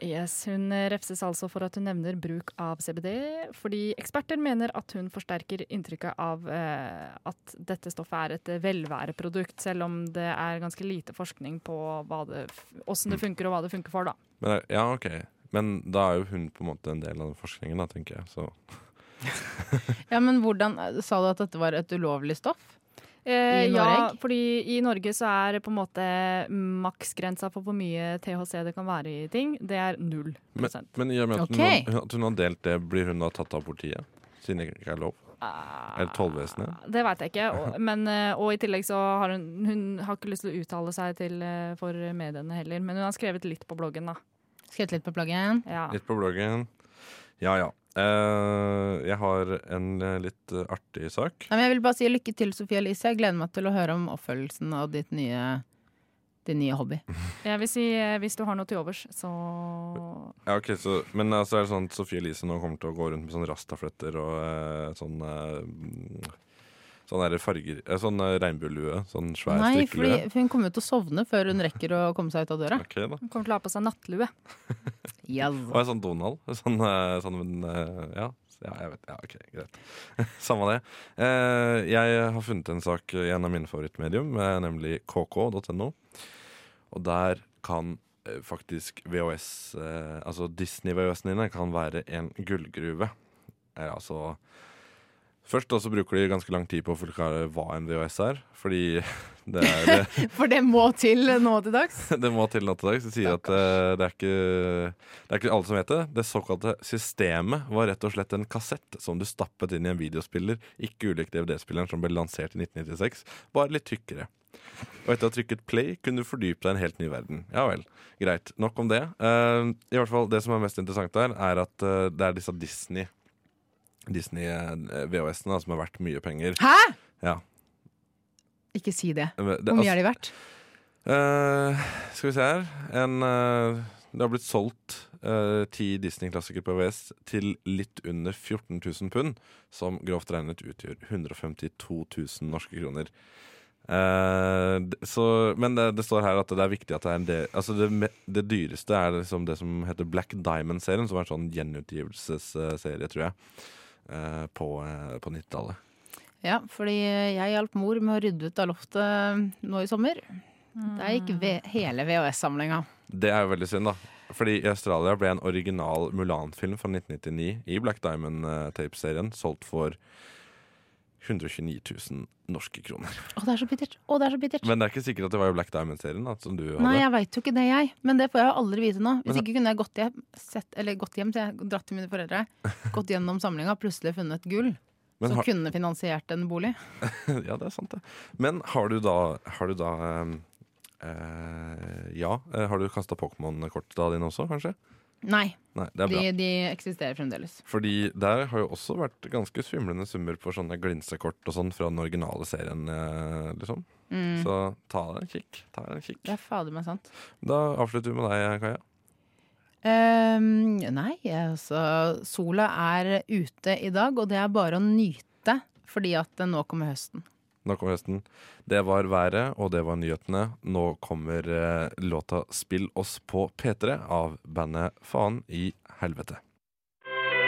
Speaker 5: Yes, Hun refses altså for at hun nevner bruk av CBD, fordi eksperter mener at hun forsterker inntrykket av eh, at dette stoffet er et velværeprodukt, selv om det er ganske lite forskning på hva det, f- hvordan det funker og hva det funker for. da.
Speaker 3: Men, er- ja, ok. Men da er jo hun på en måte en del av den forskningen, da, tenker jeg. Så
Speaker 4: eh, Ja, men hvordan Sa du at dette var et ulovlig stoff? I
Speaker 5: Eh, ja,
Speaker 4: Norge?
Speaker 5: fordi i Norge så er på en måte maksgrensa for hvor mye THC det kan være i ting, det er null
Speaker 3: Men,
Speaker 5: prosent.
Speaker 3: men i og med at,
Speaker 4: Ok.
Speaker 3: hun, har- at hun har delt det, blir hun da tatt av politiet? Siden det ikke er lov? Eller tollvesenet?
Speaker 5: Ah, Det veit jeg ikke. Og, men, eh, og i tillegg så har hun, hun har ikke lyst til å uttale seg til, eh, for mediene heller, men hun har skrevet litt på bloggen, da.
Speaker 4: Skrevet litt på plaggen.
Speaker 5: Ja.
Speaker 3: Litt på bloggen. Ja ja. Eh, jeg har en eh, litt eh, artig sak.
Speaker 4: Nei, men jeg vil bare si lykke til, Sofie Elise. Jeg gleder meg til å høre om oppfølgelsen av ditt nye, din nye hobby.
Speaker 5: Jeg vil si eh, hvis du har noe til overs, så
Speaker 3: Ja, ok, så, men altså, er det sånn at Sofie Elise nå kommer til å gå rundt med sånne rastafletter og eh, sånn eh, mm, Sånn der farger eh, Sånn eh, regnbuelue. Sånn svær
Speaker 4: Nei, fordi,
Speaker 3: strikkelue.
Speaker 4: for hun kommer jo til å sovne før hun rekker å komme seg ut av døra.
Speaker 3: Ok, da.
Speaker 5: Hun kommer til å ha på seg nattlue.
Speaker 4: Yes.
Speaker 3: Og en sånn Donald. Sånn, eh, sånn men, eh, ja. ja, jeg vet. Ja, ok, greit. Samme det. Eh, jeg har funnet en sak i en av mine favorittmedium, eh, nemlig kk.no. Og der kan eh, faktisk VHS, eh, altså Disney-VHS-ene dine, kan være en gullgruve. Eh, altså Først da så bruker de ganske lang tid på å forklare hva en VHS er, fordi det er
Speaker 4: For det må til nå til dags.
Speaker 3: det må til natt til dag. Som sier at eh, det, er ikke, det er ikke alle som vet det. Det såkalte systemet var rett og slett en kassett som du stappet inn i en videospiller, ikke ulik DVD-spilleren som ble lansert i 1996, bare litt tykkere. Og etter å ha trykket play kunne du fordype deg i en helt ny verden. Ja vel, greit. Nok om det. Eh, I hvert fall Det som er mest interessant der, er at eh, det er disse Disney Disney eh, VHS-ene da, som er verdt mye penger.
Speaker 4: Hæ?!
Speaker 3: Ja.
Speaker 4: Ikke si det.
Speaker 3: Hvor
Speaker 4: Hvor mye har de vært?
Speaker 3: Eh, skal vi se her en, eh, Det har blitt solgt eh, ti Disney-klassikere på VS til litt under 14 000 pund, som grovt regnet utgjør 152 000 norske kroner. Eh, d- så, men det, det står her at det er viktig at det er en del altså det, me- det dyreste er liksom det som heter Black Diamond-serien, som er en sånn gjenutgivelsesserie, tror jeg, eh, på, eh, på 90-tallet.
Speaker 4: Ja, fordi jeg hjalp mor med å rydde ut av loftet nå i sommer. Der gikk ve hele VHS-samlinga.
Speaker 3: Det er jo veldig synd, da. Fordi i Australia ble en original Mulan-film fra 1999 i Black Diamond eh, Tape-serien solgt for 129 000 norske kroner.
Speaker 4: Å, det er så bittert! Å, det er så bittert!
Speaker 3: Men det er ikke sikkert at det var jo Black Diamond-serien da, som du hadde.
Speaker 4: Nei, jeg veit jo ikke det, jeg. Men det får jeg jo aldri vite nå.
Speaker 3: Men
Speaker 4: Hvis
Speaker 3: da-
Speaker 4: ikke kunne jeg gått hjem, sett, eller gått hjem til jeg dratt til mine foreldre, gått gjennom samlinga, plutselig funnet gull
Speaker 3: Men
Speaker 4: som
Speaker 3: har,
Speaker 4: kunne finansiert en bolig.
Speaker 3: ja, det er sant, det. Men har du da, har du da eh, eh, Ja, eh, har du kasta Pokémon-korta dine også, kanskje?
Speaker 4: Nei,
Speaker 3: Nei, det er bra.
Speaker 4: de, de eksisterer fremdeles.
Speaker 3: Fordi der har jo også vært ganske svimlende summer på sånne glinsekort og sånn fra den originale serien, eh, liksom.
Speaker 4: Mm.
Speaker 3: Så ta deg en kikk. Ta deg en kikk.
Speaker 4: Det er fader meg sant.
Speaker 3: Da avslutter vi med deg, Kaja.
Speaker 4: Ehm, nei, altså sola er ute i dag, og det er bare å nyte, fordi at eh, nå kommer høsten.
Speaker 3: Nå kommer høsten. Det var været, og det var nyhetene. Nå kommer eh, låta 'Spill oss på P3' av bandet Faen i helvete.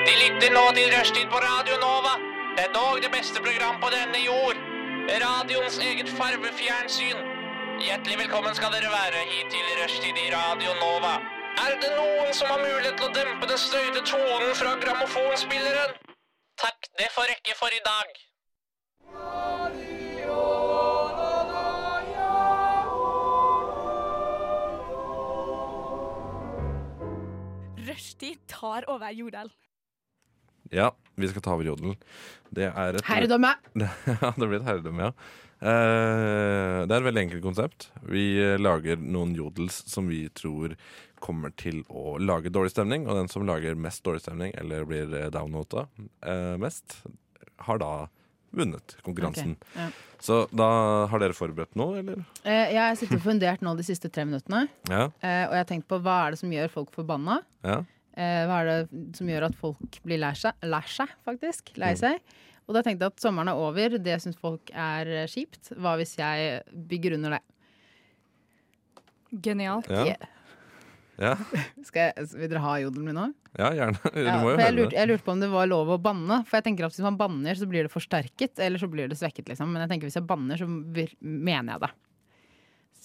Speaker 7: De lytter nå til Rushtid på Radio Nova. Det er dog det beste program på denne jord. Radioens eget farvefjernsyn. Hjertelig velkommen skal dere være hit til Rushtid i Radio Nova. Er det noen som har mulighet til å dempe den støyte tonen fra grammofonspilleren? Takk, det får rekke for i dag.
Speaker 8: Rushtid tar over Jodel.
Speaker 3: Ja, vi skal ta over jodelen. Det er et
Speaker 4: Herredømme!
Speaker 3: Ja, det blir et herredømme, ja. Eh, det er et veldig enkelt konsept. Vi eh, lager noen jodels som vi tror kommer til å lage dårlig stemning, og den som lager mest dårlig stemning, eller blir eh, downvota eh, mest, har da vunnet konkurransen.
Speaker 4: Ok, ja.
Speaker 3: Så da har dere forberedt noe, eller?
Speaker 4: Eh, jeg har sittet og fundert nå de siste tre minuttene,
Speaker 3: Ja.
Speaker 4: eh, og jeg har tenkt på hva er det som gjør folk forbanna?
Speaker 3: ja.
Speaker 4: Eh, hva er det som gjør at folk blir lei seg, lær seg faktisk?
Speaker 3: Mm.
Speaker 4: Lei seg. Og da tenkte jeg at sommeren er over, det syns folk er eh, kjipt. Hva hvis jeg bygger under det?
Speaker 5: Genialt.
Speaker 3: Ja.
Speaker 4: Yeah.
Speaker 3: Ja.
Speaker 4: Skal jeg, vil dere ha jodelen min nå?
Speaker 3: ja, gjerne. Du
Speaker 4: Ja,
Speaker 3: må jo
Speaker 4: for jeg,
Speaker 3: høre
Speaker 4: lurte,
Speaker 3: det.
Speaker 4: jeg lurte på om det var lov å banne. For jeg tenker at Hvis man banner, så blir det forsterket, eller så blir det svekket. liksom Men jeg tenker hvis jeg banner, så vir- mener jeg det.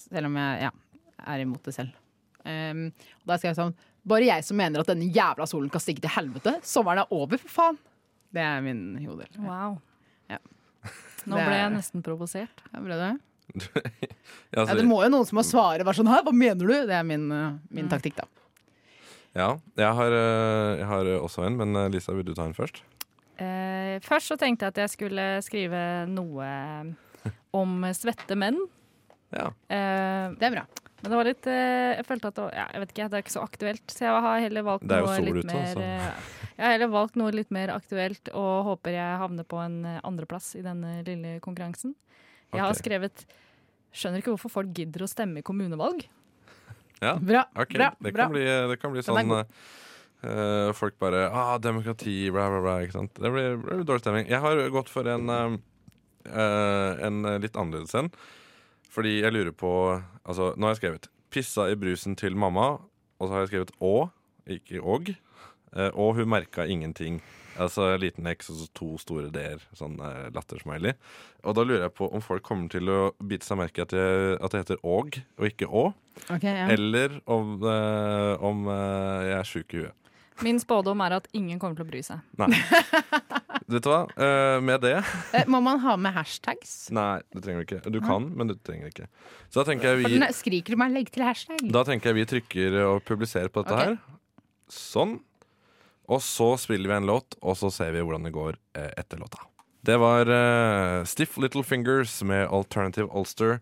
Speaker 4: Selv om jeg ja, er imot det selv. Um, og da skrev jeg sånn Bare jeg som mener at denne jævla solen kan stikke til helvete. Sommeren er over, for faen! Det er min hodel.
Speaker 5: Wow. Nå
Speaker 4: Det er-
Speaker 5: ble jeg nesten provosert.
Speaker 4: Ja, ble det?
Speaker 3: Ja,
Speaker 4: Ja,
Speaker 3: altså,
Speaker 4: det må jo noen som må svare bare sånn Hæ, hva mener du? Det er min, eh, min taktikk, da.
Speaker 3: ja jeg, har, eh, jeg har også en, men eh, Lisa, vil du ta en først?
Speaker 5: Eh, først så tenkte jeg at jeg skulle skrive noe om svette menn.
Speaker 3: Ja.
Speaker 5: Eh,
Speaker 4: Det er bra.
Speaker 5: men det var litt eh, Jeg følte at det var, ja, jeg vet ikke, det er ikke så aktuelt. Så jeg har heller valgt
Speaker 3: Det er jo
Speaker 5: noe
Speaker 3: sol
Speaker 5: litt
Speaker 3: ute,
Speaker 5: mer
Speaker 3: så-
Speaker 5: eh, Jeg har heller valgt noe litt mer aktuelt og håper jeg havner på en eh, andreplass i denne lille konkurransen. Jeg har
Speaker 3: Ok.
Speaker 5: skrevet Skjønner ikke hvorfor folk gidder å stemme i kommunevalg.
Speaker 3: Ja.
Speaker 4: Bra,
Speaker 3: Ok,
Speaker 4: bra,
Speaker 3: det,
Speaker 4: bra.
Speaker 3: kan bli, det kan bli
Speaker 4: Den er
Speaker 3: sånn eh, eh, Folk bare ah, 'Demokrati, bla, bla, bla.' Ikke sant? Det blir, det blir dårlig stemning. Jeg har gått for en, eh, eh, en litt annerledes en. Fordi jeg lurer på Altså, nå har jeg skrevet 'Pissa i brusen til mamma', og så har jeg skrevet 'å', ikke 'og'. eh, og hun merka ingenting. Altså liten X og så to store D-er. Sånn eh, lattersmiley. Og da lurer jeg på om folk kommer til å bite seg merke i at, jeg- at det heter 'og' og ikke 'å'.
Speaker 4: Ok, ja.
Speaker 3: Eller om, eh, om eh, jeg er sjuk i huet.
Speaker 5: Min spådom er at ingen kommer til å bry seg.
Speaker 3: Nei. Vet du hva? Eh, med det
Speaker 4: Eh, Må man ha med hashtags?
Speaker 3: Nei, det trenger du ikke. Du kan, men du trenger ikke. Så da tenker
Speaker 4: For
Speaker 3: jeg
Speaker 4: den
Speaker 3: vi,
Speaker 4: er- skriker du meg 'legg til hashtag'?
Speaker 3: da tenker jeg vi trykker og publiserer på dette
Speaker 4: Ok.
Speaker 3: her. Sånn. Og så spiller vi en låt, og så ser vi hvordan det går eh, etter låta. Det var eh, Stiff Little Fingers med Alternative Ulster.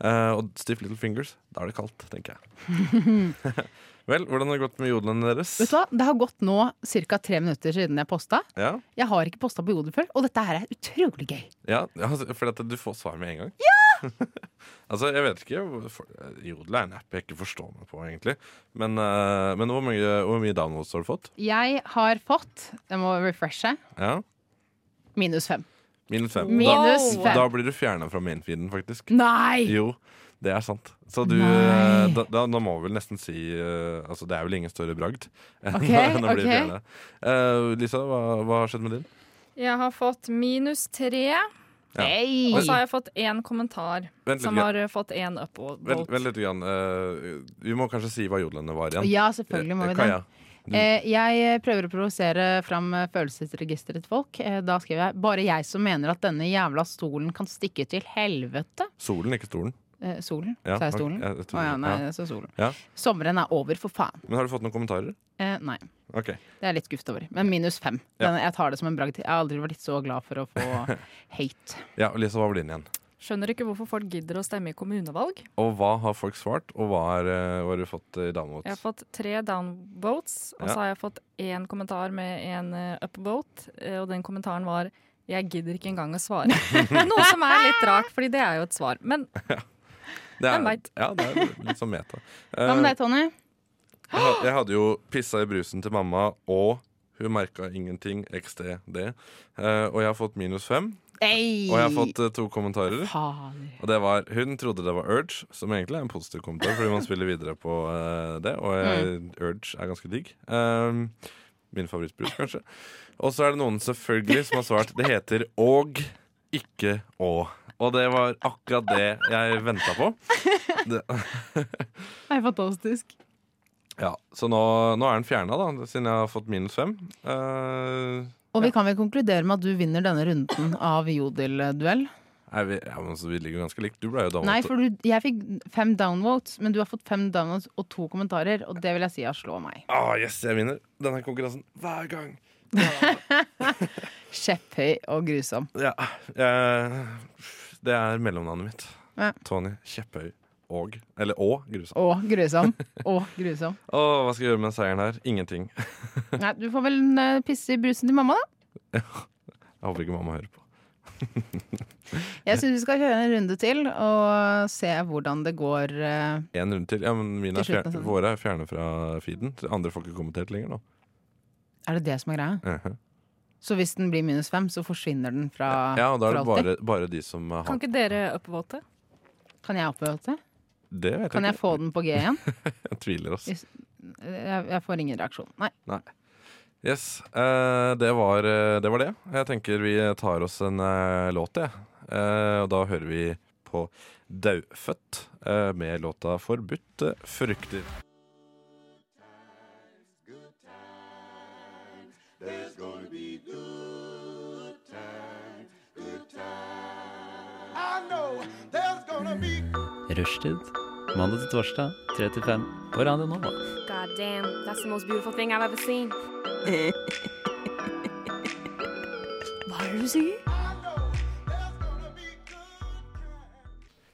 Speaker 3: Eh, og Stiff Little Fingers, da er det kaldt, tenker jeg. Vel, hvordan har det gått med jodelen deres?
Speaker 4: Vet du hva? Det har gått nå ca. tre minutter siden jeg posta.
Speaker 3: Ja?
Speaker 4: Jeg har ikke posta på Jodel før, og dette her er utrolig gøy.
Speaker 3: Ja, altså, fordi at du får svar med en gang. altså, jeg vet ikke hvorfor- Jodel er en app jeg ikke forstår meg på, egentlig. Men, eh, men hvor, mye, hvor mye downloads har du fått?
Speaker 4: Jeg har fått Jeg må refreshe.
Speaker 3: Ja?
Speaker 4: Minus fem.
Speaker 3: Minus fem.
Speaker 4: Minus
Speaker 3: da,
Speaker 4: fem.
Speaker 3: da blir du fjerna fra mainfeeden, faktisk.
Speaker 4: Nei!
Speaker 3: Jo, det er sant. Så du
Speaker 4: Nei.
Speaker 3: eh, da, da, Nå må vi vel nesten si eh, Altså, det er vel ingen større bragd enn
Speaker 4: Ok,
Speaker 3: enn å bli
Speaker 4: ok.
Speaker 3: fjernet. Eh, Lisa, hva, hva har skjedd med din?
Speaker 5: Jeg har fått minus tre,
Speaker 3: Ja.
Speaker 4: Nei.
Speaker 5: og så har jeg fått én kommentar
Speaker 3: Vent litt.
Speaker 5: som
Speaker 3: grann.
Speaker 5: har eh, fått én upvote.
Speaker 3: Vent, vent litt grann. eh, vi må kanskje si hva jodlene var igjen.
Speaker 4: Ja, selvfølgelig må vi det.
Speaker 3: Kaja, Du-
Speaker 4: Eh, jeg prøver å provosere fram eh, følelsesregisteret til folk. Eh, da skriver jeg 'bare jeg som mener at denne jævla stolen kan stikke til helvete'.
Speaker 3: solen, ikke stolen.
Speaker 4: Eh, solen?
Speaker 3: Ja,
Speaker 4: Sa jeg
Speaker 3: ok,
Speaker 4: stolen?
Speaker 3: ja, jeg tror
Speaker 4: Å ja,
Speaker 3: det.
Speaker 4: nei,
Speaker 3: Ja.
Speaker 4: jeg sa solen.
Speaker 3: Ja.
Speaker 4: Sommeren er over, for faen.
Speaker 3: Men har du fått noen kommentarer?
Speaker 4: Eh, nei,
Speaker 3: Ok,
Speaker 4: det er jeg litt skuffet over. Men minus fem.
Speaker 3: Ja.
Speaker 4: Den, jeg tar det som en bragd. Jeg har aldri vært så glad for å få hate.
Speaker 3: ja, og Lisa, hva var din igjen?
Speaker 5: Skjønner ikke hvorfor folk gidder å stemme i kommunevalg.
Speaker 3: Og hva har folk svart, og hva har, eh, hva har du fått eh, i damevot?
Speaker 5: Jeg har fått tre downvotes, og
Speaker 3: Ja.
Speaker 5: så har jeg fått én kommentar med en eh, upvote, eh, og den kommentaren var 'jeg gidder ikke engang å svare'. Noe som er litt rart, fordi det er jo et svar. Men
Speaker 3: Det
Speaker 5: hvem
Speaker 3: er,
Speaker 5: vet?
Speaker 3: ja, det er litt sånn meta.
Speaker 4: Hva med
Speaker 3: Eh,
Speaker 4: deg, Tony?
Speaker 3: jeg, had- jeg hadde jo pissa i brusen til mamma, og hun merka ingenting, XDD. Eh, og jeg har fått minus fem.
Speaker 4: Ei!
Speaker 3: Og jeg har fått eh, to kommentarer.
Speaker 4: Fader.
Speaker 3: Og det var Hun trodde det var Urge, som egentlig er en positiv kommentar, fordi man spiller videre på eh, det. Og jeg,
Speaker 4: Mm.
Speaker 3: Urge er ganske digg. Um, min favorittbrus, kanskje. Og så er det noen selvfølgelig som har svart det heter og, ikke å. Og det var akkurat det jeg venta på.
Speaker 4: Det er fantastisk.
Speaker 3: Ja, Så nå, nå er den fjerna, da, siden jeg har fått minus fem. Eh,
Speaker 4: Og vi kan vel konkludere med at du vinner denne runden av Jodel-duell?
Speaker 3: er vi, ja, men altså, vi ligger jo ganske likt. Du ble jo
Speaker 4: Nei,
Speaker 3: dame.
Speaker 4: for du, jeg fikk fem downvotes, men du har fått fem downvotes og to kommentarer, og det vil jeg si har slå meg.
Speaker 3: Ah, yes, jeg vinner denne konkurransen hver gang.
Speaker 4: Skjepphøy og grusom.
Speaker 3: Ja, jeg, det er mellomnavnet mitt.
Speaker 4: Ja.
Speaker 3: Tony Kjepphøy og Eller og Grusom.
Speaker 4: Og grusom. Og grusom.
Speaker 3: Åh, hva skal jeg gjøre med seieren her? Ingenting.
Speaker 4: Nei, du får vel eh, pisse i brusen til mamma, da.
Speaker 3: Jeg håper ikke mamma hører på.
Speaker 4: Jeg syns vi skal kjøre en runde til og se hvordan det går. eh.
Speaker 3: En runde til. Ja, men mine er
Speaker 4: Til
Speaker 3: fjer-
Speaker 4: slutten av sendingen.
Speaker 3: våre er fjernet fra feeden. Så Andre får ikke kommentert lenger nå.
Speaker 4: Er det det som er greia?
Speaker 3: Mhm.
Speaker 4: Så hvis den blir minus fem, så forsvinner den fra
Speaker 3: Ja, og da er det
Speaker 4: for alltid?
Speaker 3: bare, bare de som har
Speaker 5: kan ikke dere upvote?
Speaker 4: Kan jeg oppvote?
Speaker 3: Det vet
Speaker 4: Kan jeg
Speaker 3: jeg ikke.
Speaker 4: få den på G igjen?
Speaker 3: Jeg tviler oss.
Speaker 4: Jeg, jeg får ingen reaksjon. Nei.
Speaker 3: Yes, eh, det, var, eh, det var det. Jeg tenker vi tar oss en eh, låt, jeg. Eh, og da hører vi på Daufødt eh, med låta eh, 'Forbudte frukter'.
Speaker 8: Rushtid. Mandag til torsdag, 3 til 5 på Radio Nova.
Speaker 9: God damn, that's the most beautiful thing I've ever seen.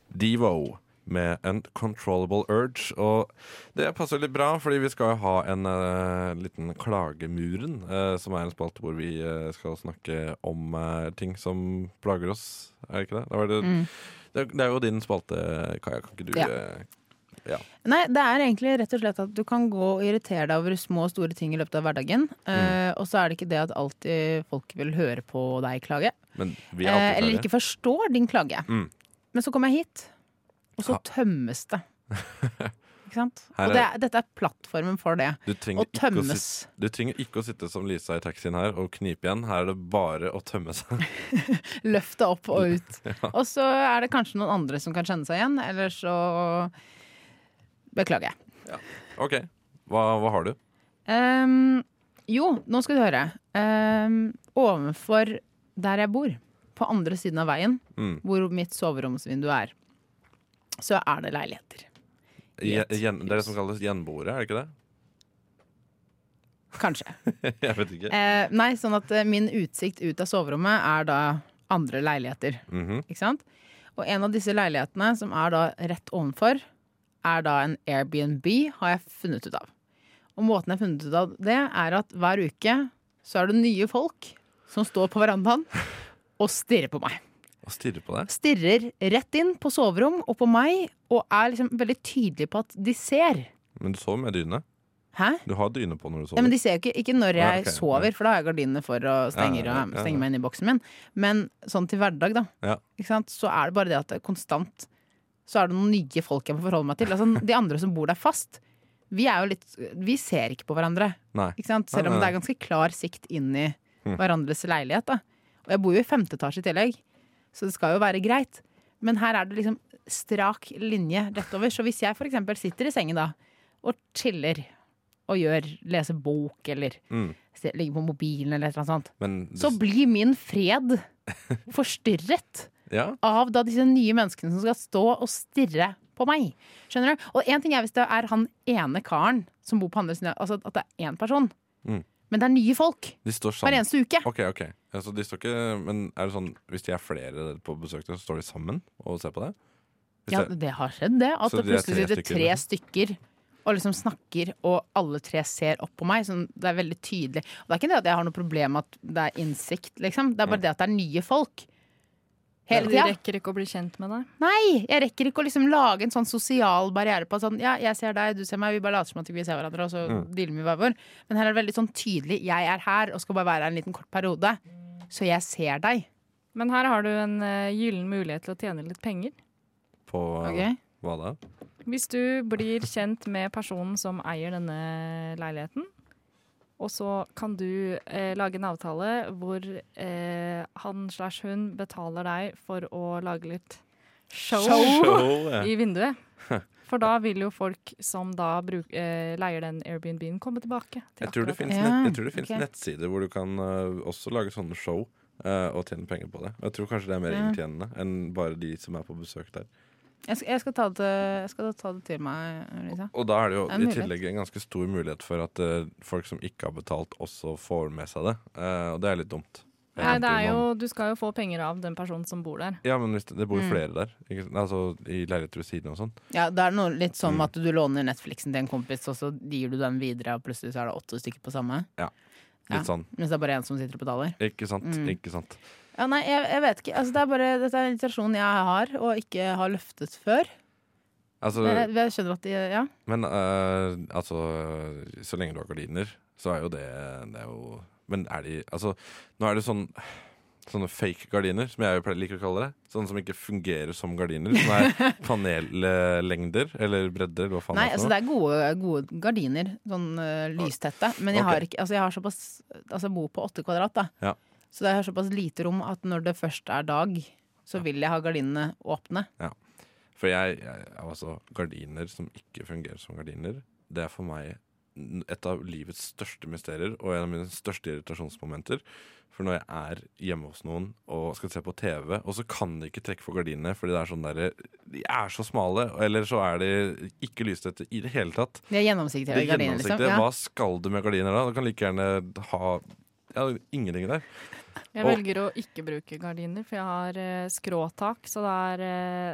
Speaker 3: Devo med Uncontrollable Urge. Og det passer litt bra, fordi vi skal jo ha en eh, liten Klagemuren, eh, som er en spalte hvor vi eh, skal snakke om eh, ting som plager oss. Er det ikke det? Da var det,
Speaker 4: Mm.
Speaker 3: det, er- det er jo din spalte, Kaja. Kan ikke du
Speaker 4: Ja.
Speaker 3: eh,
Speaker 4: Nei, det er egentlig rett og slett at du kan gå og irritere deg over små og store ting i løpet av hverdagen.
Speaker 3: Mm.
Speaker 4: Eh, og så er det ikke det at alltid folk vil høre på deg klage.
Speaker 3: Men vi er
Speaker 4: Eh,
Speaker 3: alltid
Speaker 4: eller
Speaker 3: klare.
Speaker 4: ikke forstår din klage.
Speaker 3: Mm.
Speaker 4: Men så kommer jeg hit, og så
Speaker 3: Ja.
Speaker 4: tømmes det. Ikke sant?
Speaker 3: Her
Speaker 4: Og det, er- dette er plattformen for det.
Speaker 3: Du
Speaker 4: Å
Speaker 3: trenger, ikke å
Speaker 4: tømmes.
Speaker 3: sitte, du trenger ikke å sitte som Lisa i taxien her og knipe igjen. Her er det bare å tømme seg.
Speaker 4: Løfte opp og ut. Og så er det kanskje noen andre som kan kjenne seg igjen, eller så Beklager jeg.
Speaker 3: OK, hva, hva har du?
Speaker 4: Ehm, jo, nå skal du høre. Um, ovenfor der jeg bor, på andre siden av veien,
Speaker 3: Mm.
Speaker 4: hvor mitt soveromsvindu er, så er det leiligheter. I
Speaker 3: Gjen,
Speaker 4: et
Speaker 3: gjen- det er det
Speaker 4: hus.
Speaker 3: som kalles gjenboere, er det ikke det?
Speaker 4: Kanskje.
Speaker 3: Jeg vet ikke.
Speaker 4: Eh, nei, sånn at eh, min utsikt ut av soverommet er da andre leiligheter.
Speaker 3: Mhm.
Speaker 4: Ikke sant? Og en av disse leilighetene, som er da rett ovenfor, er da en Airbnb, har jeg funnet ut av. Og måten jeg har funnet ut av det, er at hver uke så er det nye folk som står på verandaen og stirrer på meg.
Speaker 3: Og stirre på deg.
Speaker 4: Stirrer rett inn på soverom og på meg, og er liksom veldig tydelig på at de ser.
Speaker 3: Men du sover med dyne.
Speaker 4: Hæ?
Speaker 3: Du har dyne på når du
Speaker 4: Ja,
Speaker 3: sover.
Speaker 4: men De ser jo ikke, ikke når jeg
Speaker 3: Ja, ok.
Speaker 4: sover, for da har jeg gardinene for og
Speaker 3: Ja,
Speaker 4: stenger,
Speaker 3: ja, ja,
Speaker 4: og
Speaker 3: ja.
Speaker 4: stenger meg inn i boksen min. Men sånn til hverdag, da,
Speaker 3: Ja.
Speaker 4: ikke sant? så er det bare det at det er konstant så er det noen nye folk jeg må forholde meg til. Altså, de andre som bor der fast, vi, er jo litt, vi ser ikke på hverandre.
Speaker 3: Nei.
Speaker 4: Ikke sant?
Speaker 3: Nei,
Speaker 4: Selv om
Speaker 3: nei,
Speaker 4: det
Speaker 3: nei.
Speaker 4: er ganske klar sikt inn i
Speaker 3: Ah. Mm.
Speaker 4: hverandres leilighet. Da. Og jeg bor jo i femte etasje i tillegg, så det skal jo være greit. Men her er det liksom strak linje rett over. Så hvis jeg f.eks. sitter i sengen da og chiller og gjør, leser bok eller
Speaker 3: Mm.
Speaker 4: se- ligger på mobilen eller et eller annet sånt,
Speaker 3: Men du,
Speaker 4: så blir min fred forstyrret
Speaker 3: ja,
Speaker 4: av da disse nye menneskene som skal stå og stirre på meg. Skjønner du? Og en ting er hvis det er han ene karen som bor på andre siden, altså at det er én person.
Speaker 3: Mm.
Speaker 4: Men det er nye folk
Speaker 3: de står
Speaker 4: hver
Speaker 3: sammen.
Speaker 4: eneste uke.
Speaker 3: Ok, ok. Ja, så de står ikke, men er det sånn, Hvis de er flere på besøk, der, så står de sammen og ser på deg? Hvis
Speaker 4: Ja,
Speaker 3: det-
Speaker 4: det har skjedd, det. At
Speaker 3: Så
Speaker 4: det
Speaker 3: de er
Speaker 4: plutselig
Speaker 3: tre liksom?
Speaker 4: sitter tre stykker og liksom snakker, og alle tre ser opp på meg. Sånn, det er veldig tydelig. Og det er ikke det at jeg har noe problem med at det er innsikt, liksom. Det er
Speaker 3: Mm.
Speaker 4: bare det at det er nye folk. Hele
Speaker 5: De
Speaker 4: tida.
Speaker 5: rekker ikke å bli kjent med deg.
Speaker 4: Nei, jeg rekker ikke å liksom lage en sånn sosial barriere på at sånn, ja, jeg ser deg, du ser meg, vi bare later som at vi ser hverandre, og så dealer vi hver vår. Men her er det veldig sånn tydelig, jeg er her og skal bare være her en liten kort periode, så jeg ser deg.
Speaker 5: Men her har du en eh, gyllen mulighet til å tjene litt penger.
Speaker 3: På
Speaker 4: Ok?
Speaker 3: hva da?
Speaker 5: Hvis du blir kjent med personen som eier denne leiligheten, og så kan du eh, lage en avtale hvor eh, han slash hun betaler deg for å lage litt show,
Speaker 3: Show, ja.
Speaker 5: i vinduet. For da vil jo folk som da bruk, eh, leier den Airbnb-en, komme tilbake. til
Speaker 3: Jeg tror det
Speaker 5: akkurat
Speaker 3: finnes,
Speaker 4: Ja,
Speaker 3: nett, jeg tror det finnes
Speaker 4: ok.
Speaker 3: nettsider hvor du kan eh, også lage sånne show eh, og tjene penger på det. Og Jeg tror kanskje det er mer
Speaker 4: Ja.
Speaker 3: inntjenende enn bare de som er på besøk der.
Speaker 4: Jeg skal, jeg skal, ta, det, til- jeg skal ta det til meg, Lisa.
Speaker 3: Og da er det jo
Speaker 4: Liksom. Det er en
Speaker 3: i tillegg en ganske stor mulighet for at eh, folk som ikke har betalt, også får med seg det. Eh, og det er litt dumt.
Speaker 5: det. Nei, det er
Speaker 3: Egentlig,
Speaker 5: jo,
Speaker 3: man-
Speaker 5: du skal jo få penger av den personen som bor der.
Speaker 3: Ja, men hvis det, det bor jo
Speaker 4: Mm.
Speaker 3: flere der. Ikke, sant? altså I leiligheter ved siden og sånn.
Speaker 4: Ja, det er noe litt sånn at du låner Netflixen til en kompis, og så gir du den videre, og plutselig så er det åtte stykker på samme. Ja.
Speaker 3: Litt sånn.
Speaker 4: Mens det er bare en som sitter og betaler.
Speaker 3: Ikke sant?
Speaker 4: Mm.
Speaker 3: Ikke sant?
Speaker 4: Ja, nei, jeg, jeg vet ikke. Altså, det er bare, dette er en situasjon jeg har, og ikke har løftet før.
Speaker 3: Altså,
Speaker 4: Men jeg, jeg skjønner at de, ja.
Speaker 3: men eh, altså Så lenge du har gardiner, så er jo det Det er jo Men er de Altså, nå er det sånn Sånne fake gardiner, som jeg jo pleier- liker å kalle det. Sånne som ikke fungerer som gardiner. Som er panellengder eller bredder. Eller hva faen
Speaker 4: Nei,
Speaker 3: det er for
Speaker 4: altså
Speaker 3: noe.
Speaker 4: det er gode, gode gardiner, sånn eh, lystette. Men jeg
Speaker 3: Ok.
Speaker 4: har ikke, altså jeg har såpass Altså jeg bor på åtte kvadrat, da.
Speaker 3: Ja.
Speaker 4: Så det er såpass lite rom at når det først er dag, så vil jeg ha gardinene åpne.
Speaker 3: For jeg, jeg altså, gardiner som ikke fungerer som gardiner, det er for meg et av livets største mysterier og en av mine største irritasjonsmomenter. For når jeg er hjemme hos noen og skal se på TV, og så kan de ikke trekke for gardinene fordi det er sånn derre De er så smale, eller så er de ikke lystette i det hele tatt.
Speaker 4: De er gjennomsiktige
Speaker 3: Det
Speaker 4: gardiner, liksom.
Speaker 3: gjennomsiktige,
Speaker 4: Ja.
Speaker 3: hva skal du med gardiner da? Du kan like gjerne ha ja, ingenting der.
Speaker 5: Jeg
Speaker 3: Og-
Speaker 5: velger å ikke bruke gardiner, for jeg har eh, skråtak, så det er,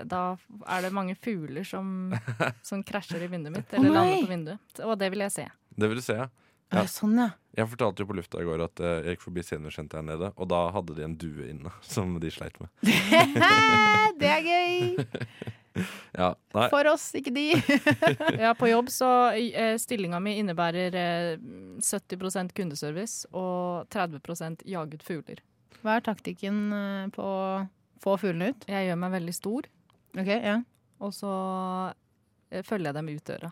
Speaker 5: eh, da er det mange fugler som, som krasjer i vinduet mitt, eller
Speaker 4: nei!
Speaker 5: lander på vinduet. Og det vil jeg se.
Speaker 3: Det vil du se, ja.
Speaker 4: Ja, Sånn, ja.
Speaker 3: Jeg fortalte jo på lufta i går at eh, jeg gikk forbi seniorsenteret her nede, og da hadde de en due inne som de sleit med.
Speaker 4: det er gøy!
Speaker 3: Ja, nei,
Speaker 4: For oss, ikke de.
Speaker 5: Ja, på jobb så eh, stillinga mi innebærer eh, 70 kundeservice og 30 jaget fugler.
Speaker 4: Hva er taktikken eh, på å få fuglene ut?
Speaker 5: Jeg gjør meg veldig stor,
Speaker 4: Ok, ja.
Speaker 5: og så eh, følger jeg dem ut døra.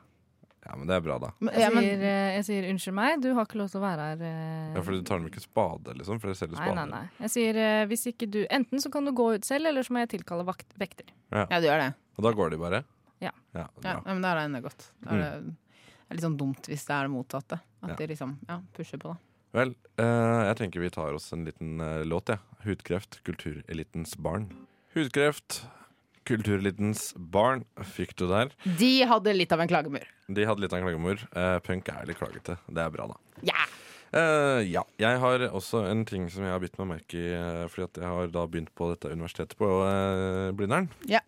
Speaker 3: ja, men det er bra, da.
Speaker 4: Men,
Speaker 5: Jeg,
Speaker 4: ja, men,
Speaker 5: sier, eh, jeg sier 'unnskyld meg, du har ikke lov til å være her'. eh,
Speaker 3: Ja, for du tar dem ikke spade, liksom? For dere selger
Speaker 5: Nei,
Speaker 3: spader.
Speaker 5: nei, nei. Jeg sier eh, hvis ikke du Enten så kan du gå ut selv, eller så må jeg tilkalle vakt, vekter.
Speaker 4: ja, du gjør det.
Speaker 3: Og da går de bare?
Speaker 5: Ja.
Speaker 3: ja
Speaker 4: Ja,
Speaker 3: bra.
Speaker 4: ja, men da er det enda godt. Da er det, det er litt sånn dumt hvis det er det motsatte. At
Speaker 3: Ja.
Speaker 4: de liksom ja, pusher på, da.
Speaker 3: Vel, eh, jeg tenker vi tar oss en liten eh, låt, jeg. Ja. Hudkreft, kulturelitens barn. Hudkreft, kulturelitens barn, fikk du der.
Speaker 4: De hadde litt av en klagemur.
Speaker 3: De hadde litt av en klagemor. Eh, punk er litt klagete. Det er bra, da.
Speaker 4: Ja!
Speaker 3: Eh, ja. Jeg har også en ting som jeg har bitt meg merke i, eh, fordi at jeg har da begynt på dette universitetet på eh, Blindern.
Speaker 4: Ja.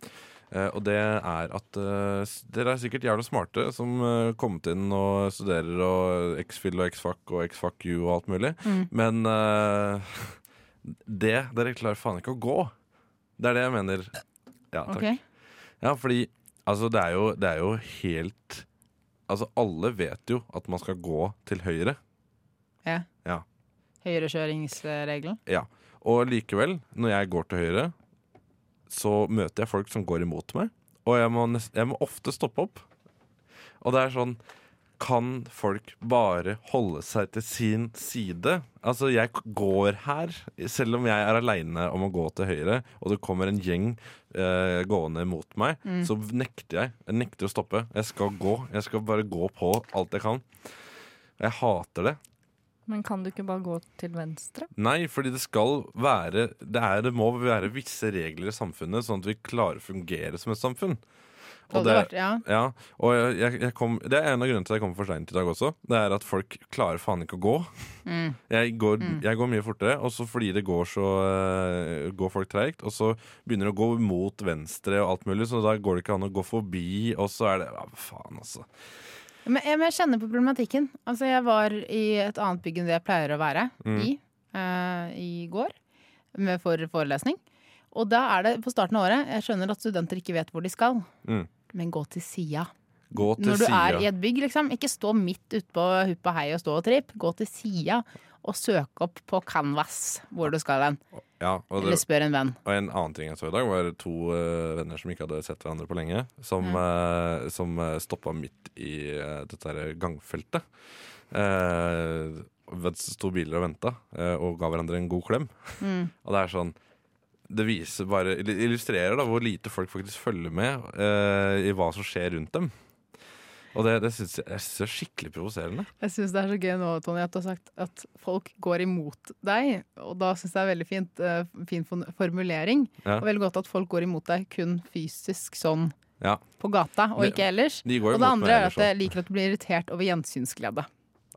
Speaker 3: Eh, og det er at eh, s- dere er sikkert jævla smarte som eh, kommet inn og studerer og X-Fill og X-Fac og X-Fac U og alt mulig.
Speaker 4: Mm.
Speaker 3: Men eh, det Dere klarer faen ikke å gå. Det er det jeg mener. Ja, takk.
Speaker 4: Ok.
Speaker 3: Ja, fordi altså, det, er jo, det er jo helt Altså, alle vet jo at man skal gå til høyre.
Speaker 4: Høyrekjøringsregelen.
Speaker 3: Og likevel, når jeg går til høyre, så møter jeg folk som går imot meg. Og jeg må, nest, jeg må ofte stoppe opp. Og det er sånn Kan folk bare holde seg til sin side? Altså, jeg k- går her, selv om jeg er aleine om å gå til høyre, og det kommer en gjeng eh, gående mot meg, så nekter jeg. Jeg nekter å stoppe. Jeg skal gå. Jeg skal bare gå på alt jeg kan. Jeg hater det.
Speaker 5: Men kan du ikke bare gå til venstre?
Speaker 3: Nei, fordi det skal være det, er, det må være visse regler i samfunnet, sånn at vi klarer å fungere som et samfunn.
Speaker 4: Det hadde vært, ja.
Speaker 3: ja, og jeg, jeg- jeg kom, det er en av grunnene til at jeg kommer for seint i dag også. Det er at folk klarer faen ikke å gå.
Speaker 4: Mm.
Speaker 3: Jeg går, jeg går mye fortere, og så fordi det går så eh, går folk treigt, og så begynner det å gå mot venstre og alt mulig, så da går det ikke an å gå forbi, og så er det ja, Faen, altså.
Speaker 4: Men jeg, men jeg kjenner på problematikken. Altså, jeg var i et annet bygg enn det jeg pleier å være i eh, i går, med for forelesning. Og da er det på starten av året Jeg skjønner at studenter ikke vet hvor de skal.
Speaker 3: Mm.
Speaker 4: Men gå til sida.
Speaker 3: Gå til
Speaker 4: Når du er i
Speaker 3: sida.
Speaker 4: et bygg, liksom. Ikke stå midt utpå huppa hei og stå og tripp. Gå til sida og søk opp på Canvas hvor du skal hen.
Speaker 3: Ja, og det-
Speaker 4: Eller spør en venn.
Speaker 3: Og en annen ting jeg så i dag, var to eh, venner som ikke hadde sett hverandre på lenge, som, uh, som eh, stoppa midt i eh, dette her gangfeltet. Uh, sto biler og venta, eh, og ga hverandre en god klem.
Speaker 4: Mm.
Speaker 3: Og det er sånn Det viser bare, det illustrerer da hvor lite folk faktisk følger med eh, i hva som skjer rundt dem. Og det, det syns jeg, jeg synes det er skikkelig provoserende.
Speaker 4: Jeg syns det er så gøy nå, Tony, at du har sagt at folk går imot deg. Og da syns jeg det er veldig fint, eh, fin fon- formulering.
Speaker 3: Ja.
Speaker 4: Og veldig godt at folk går imot deg kun fysisk sånn
Speaker 3: Ja.
Speaker 4: på gata, og
Speaker 3: Det-
Speaker 4: ikke ellers.
Speaker 3: De går jo
Speaker 4: Og
Speaker 3: mot
Speaker 4: det
Speaker 3: meg sånn.
Speaker 4: andre er
Speaker 3: ellers
Speaker 4: at jeg liker at du blir irritert over gjensynsglede.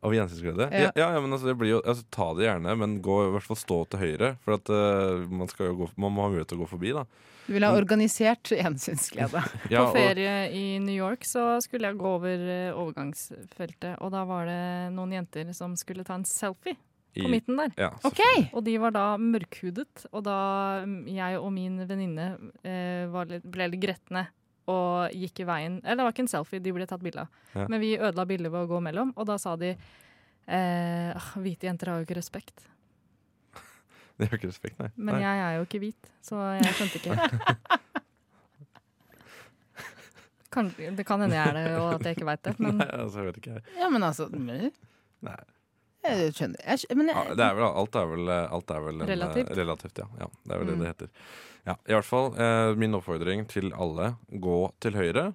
Speaker 3: Av gjensynsglede?
Speaker 4: Ja.
Speaker 3: Ja. Ja, ja, men altså, det blir jo, altså, ta det gjerne, men gå, i hvert fall stå til høyre. For at, eh, man, skal jo gå, man må ha mulighet til å gå forbi, da.
Speaker 4: Du vil ha
Speaker 3: Mm.
Speaker 4: organisert gjensynsglede.
Speaker 3: Ja,
Speaker 5: på
Speaker 3: og-
Speaker 5: ferie i New York så skulle jeg gå over eh, overgangsfeltet, og da var det noen jenter som skulle ta en selfie
Speaker 3: i-
Speaker 5: på midten der.
Speaker 3: Ja,
Speaker 4: OK!
Speaker 5: Og de var da mørkhudet, og da mm, jeg og min venninne eh, var litt- ble litt gretne og gikk i veien Eller det var ikke en selfie, de ble tatt bilde av.
Speaker 3: Ja.
Speaker 5: Men vi ødela bildet ved å gå mellom, og da sa de eh, «Ah, Hvite jenter har jo ikke respekt.
Speaker 3: selvfølgelig. Det har ikke respekt, nei.
Speaker 5: Men
Speaker 3: nei.
Speaker 5: jeg er jo ikke hvit, så jeg skjønte ikke. Kan, det kan hende jeg er det, og at jeg ikke veit det. Men
Speaker 3: Nei, altså, jeg vet ikke. jeg.
Speaker 4: Ja, men altså men- eh,
Speaker 3: Nei.
Speaker 4: Jeg skjønner. Jeg, skj- men
Speaker 3: Ja,
Speaker 4: jeg,
Speaker 3: det er vel, alt er vel, alt er vel en, eh,
Speaker 5: Relativt.
Speaker 3: relativt. Ja. ja, det er vel det
Speaker 4: Mm.
Speaker 3: det heter. Ja, I hvert fall eh, min oppfordring til alle gå til høyre.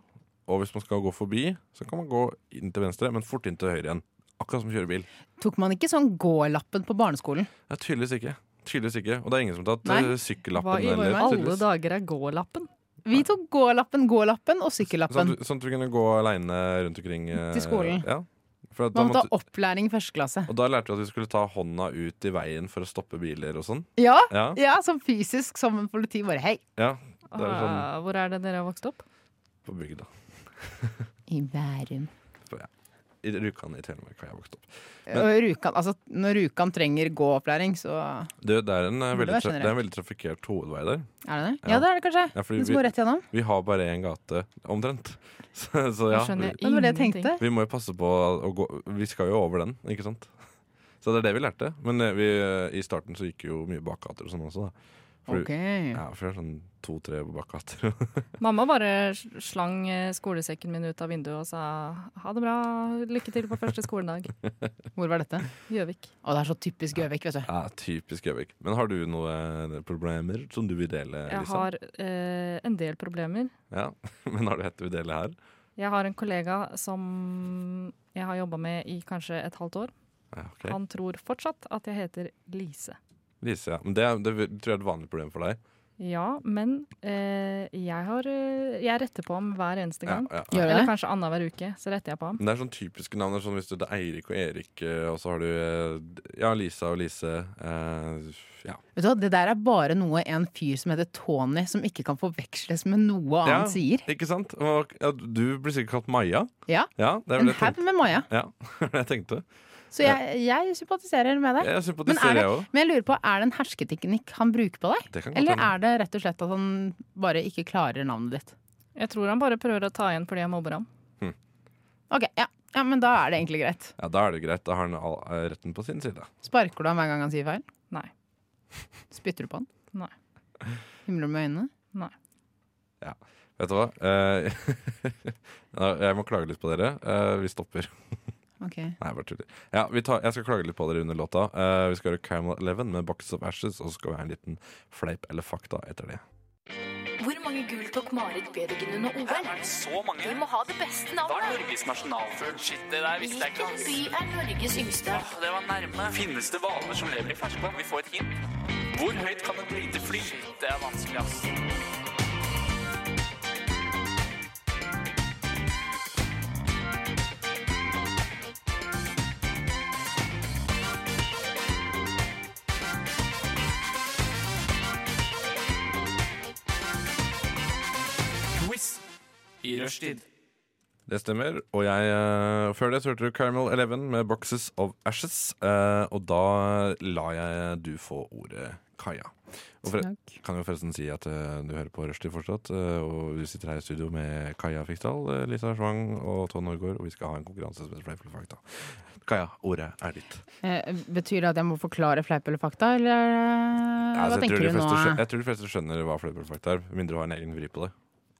Speaker 3: og hvis man skal gå forbi, så kan man gå inn til venstre, men fort inn til høyre igjen. Akkurat som å kjøre bil.
Speaker 4: Tok man ikke sånn gå-lappen på barneskolen?
Speaker 3: Ja, tydeligvis ikke. Tydeligvis ikke. Og det er ingen som har tatt
Speaker 4: Nei.
Speaker 3: eh,
Speaker 5: Hva
Speaker 3: sykkellappen
Speaker 5: i
Speaker 3: heller.
Speaker 5: alle
Speaker 3: tydeligvis.
Speaker 5: dager er gå-lappen?
Speaker 4: Vi tok gå-lappen, gå-lappen og
Speaker 3: Sånn,
Speaker 4: sykkellappen.
Speaker 3: at du- sånn at vi kunne gå aleine rundt omkring. eh,
Speaker 4: Til skolen.
Speaker 3: Ja. For at da
Speaker 4: Man måtte
Speaker 3: måtte,
Speaker 4: ha opplæring i første klasse.
Speaker 3: og da lærte vi at vi skulle ta hånda ut i veien for å stoppe biler og sånn.
Speaker 4: Ja,
Speaker 3: Ja,
Speaker 4: ja, sånn fysisk som en politi bare hei.
Speaker 3: ja, Det er jo sånn-
Speaker 5: Ah, Hvor er det dere har vokst opp?
Speaker 3: på bygda.
Speaker 4: I Bærum.
Speaker 3: I Rjukan i Telemark har jeg vokst opp.
Speaker 4: Og Rjukan, altså når Rjukan trenger gå-opplæring, så
Speaker 3: Det, det, er en, eh,
Speaker 4: Burde
Speaker 3: veldig,
Speaker 4: være
Speaker 3: tra det
Speaker 4: generelt.
Speaker 3: er en veldig trafikkert hovedvei der.
Speaker 4: er det det?
Speaker 3: Ja.
Speaker 4: Ja, det er det kanskje.
Speaker 3: Ja, fordi vi-
Speaker 4: Den som går rett gjennom.
Speaker 3: Vi har bare én gate, omtrent. Så, så
Speaker 5: Jeg
Speaker 3: ja,
Speaker 5: skjønner
Speaker 4: Det var det jeg
Speaker 5: ingenting.
Speaker 4: tenkte.
Speaker 3: vi må jo passe på å gå Vi skal jo over den, ikke sant? Så det er det vi lærte. Men eh, vi, eh, i starten så gikk jo mye bakgater og sånn også, da. For,
Speaker 4: Ok.
Speaker 3: Ja, for det er sånn to-tre bakgater.
Speaker 5: Mamma bare slang eh, skolesekken min ut av vinduet og sa ha det bra, lykke til på første skoledag.
Speaker 4: Hvor var dette?
Speaker 5: Gjøvik.
Speaker 4: Å, det er så typisk Gjøvik, vet du.
Speaker 3: ja, typisk Gjøvik. Men har du noen problemer som du vil dele, liksom?
Speaker 5: Jeg
Speaker 3: Lisa?
Speaker 5: har eh, en del problemer.
Speaker 3: Ja, Men har du et du vil dele her?
Speaker 5: Jeg har en kollega som jeg har jobba med i kanskje et halvt år.
Speaker 3: Ja, ok.
Speaker 5: Han tror fortsatt at jeg heter Lise.
Speaker 3: Lise, ja. Men det, er- det vil- tror jeg er et vanlig problem for deg.
Speaker 5: Ja, men eh, jeg, har, eh, jeg retter på ham hver eneste
Speaker 3: Ja,
Speaker 5: gang.
Speaker 3: ja, ja.
Speaker 4: Gjør du
Speaker 5: Eller
Speaker 4: det?
Speaker 5: kanskje annenhver uke, så retter jeg på ham.
Speaker 3: Men det er sånn typiske navn. det er Sånn hvis du, det er Eirik og Erik, eh, og så har du eh, Ja, Lisa og Lise. eh, ja.
Speaker 4: Vet du hva, Det der er bare noe en fyr som heter Tony, som ikke kan forveksles med noe
Speaker 3: Ja.
Speaker 4: annet, sier.
Speaker 3: Ikke sant? Og, ja, du blir sikkert kalt Maja.
Speaker 4: Ja.
Speaker 3: Ja, det er vel
Speaker 4: En
Speaker 3: det jeg
Speaker 4: haug
Speaker 3: tenkte.
Speaker 4: med Maja.
Speaker 3: Ja, det var det jeg tenkte.
Speaker 4: Så jeg, jeg sympatiserer med deg.
Speaker 3: Jeg
Speaker 4: Men er
Speaker 3: sympatiserer,
Speaker 4: det-
Speaker 3: jeg òg.
Speaker 4: Men jeg lurer på, er det en hersketeknikk han bruker på deg?
Speaker 3: Det kan godt
Speaker 4: Eller
Speaker 3: hende.
Speaker 4: er det rett og slett at han bare ikke klarer navnet ditt?
Speaker 5: Jeg tror han bare prøver å ta igjen fordi jeg mobber ham.
Speaker 4: Ok, ja, ja men da er det egentlig greit.
Speaker 3: Ja, Da er det greit. Da har han all, eh, retten på sin side.
Speaker 4: Sparker du han hver gang han sier feil?
Speaker 5: Nei.
Speaker 4: Spytter du på han?
Speaker 5: Nei.
Speaker 4: Himler du med øynene?
Speaker 3: Vet du hva? Eh, ja, jeg må klage litt på dere. Eh, vi stopper.
Speaker 4: Ok.
Speaker 3: Nei, jeg bare tuller. Ja, vi tar, jeg skal klage litt på dere under låta. Eh, vi skal høre Camel Eleven med Boxes of Ashes, og så skal vi ha en liten fleip eller fakta etter det.
Speaker 10: Hvor mange gull tok Marit Bjørgen under OL?
Speaker 7: Er det så mange?
Speaker 10: Vi må ha det beste navnet.
Speaker 7: Norges nasjonalfugl? Shit, det der
Speaker 10: Hvilken by er Norges yngste?
Speaker 7: Det var nærme. Finnes det hvaler som lever i ferskvann? Vi får et hint. Hvor høyt kan et lite fly? Det er vanskelig, ass. Quiz i rushtid.
Speaker 3: Det stemmer. Og jeg, eh, før det så hørte du Caramel Eleven med Boxes of Ashes. eh, og da la jeg du få ordet, Kaja. Og for, kan jo forresten si at eh, du hører på Rushtid fortsatt. eh, og vi sitter her i studio med Kaja Fiksdal, eh, Lisa Schwang og Tone Norgård. Og vi skal ha en konkurranse som heter Fleip eller fakta. Kaja, ordet er ditt.
Speaker 4: Eh, betyr det at jeg må forklare fleip eller fakta, eller eh,
Speaker 3: Altså,
Speaker 4: hva
Speaker 3: jeg, tror
Speaker 4: tenker
Speaker 3: de
Speaker 4: du nå?
Speaker 3: fleste skjø- jeg tror de fleste skjønner hva fleip eller fakta er, med mindre du har en egen vri på det.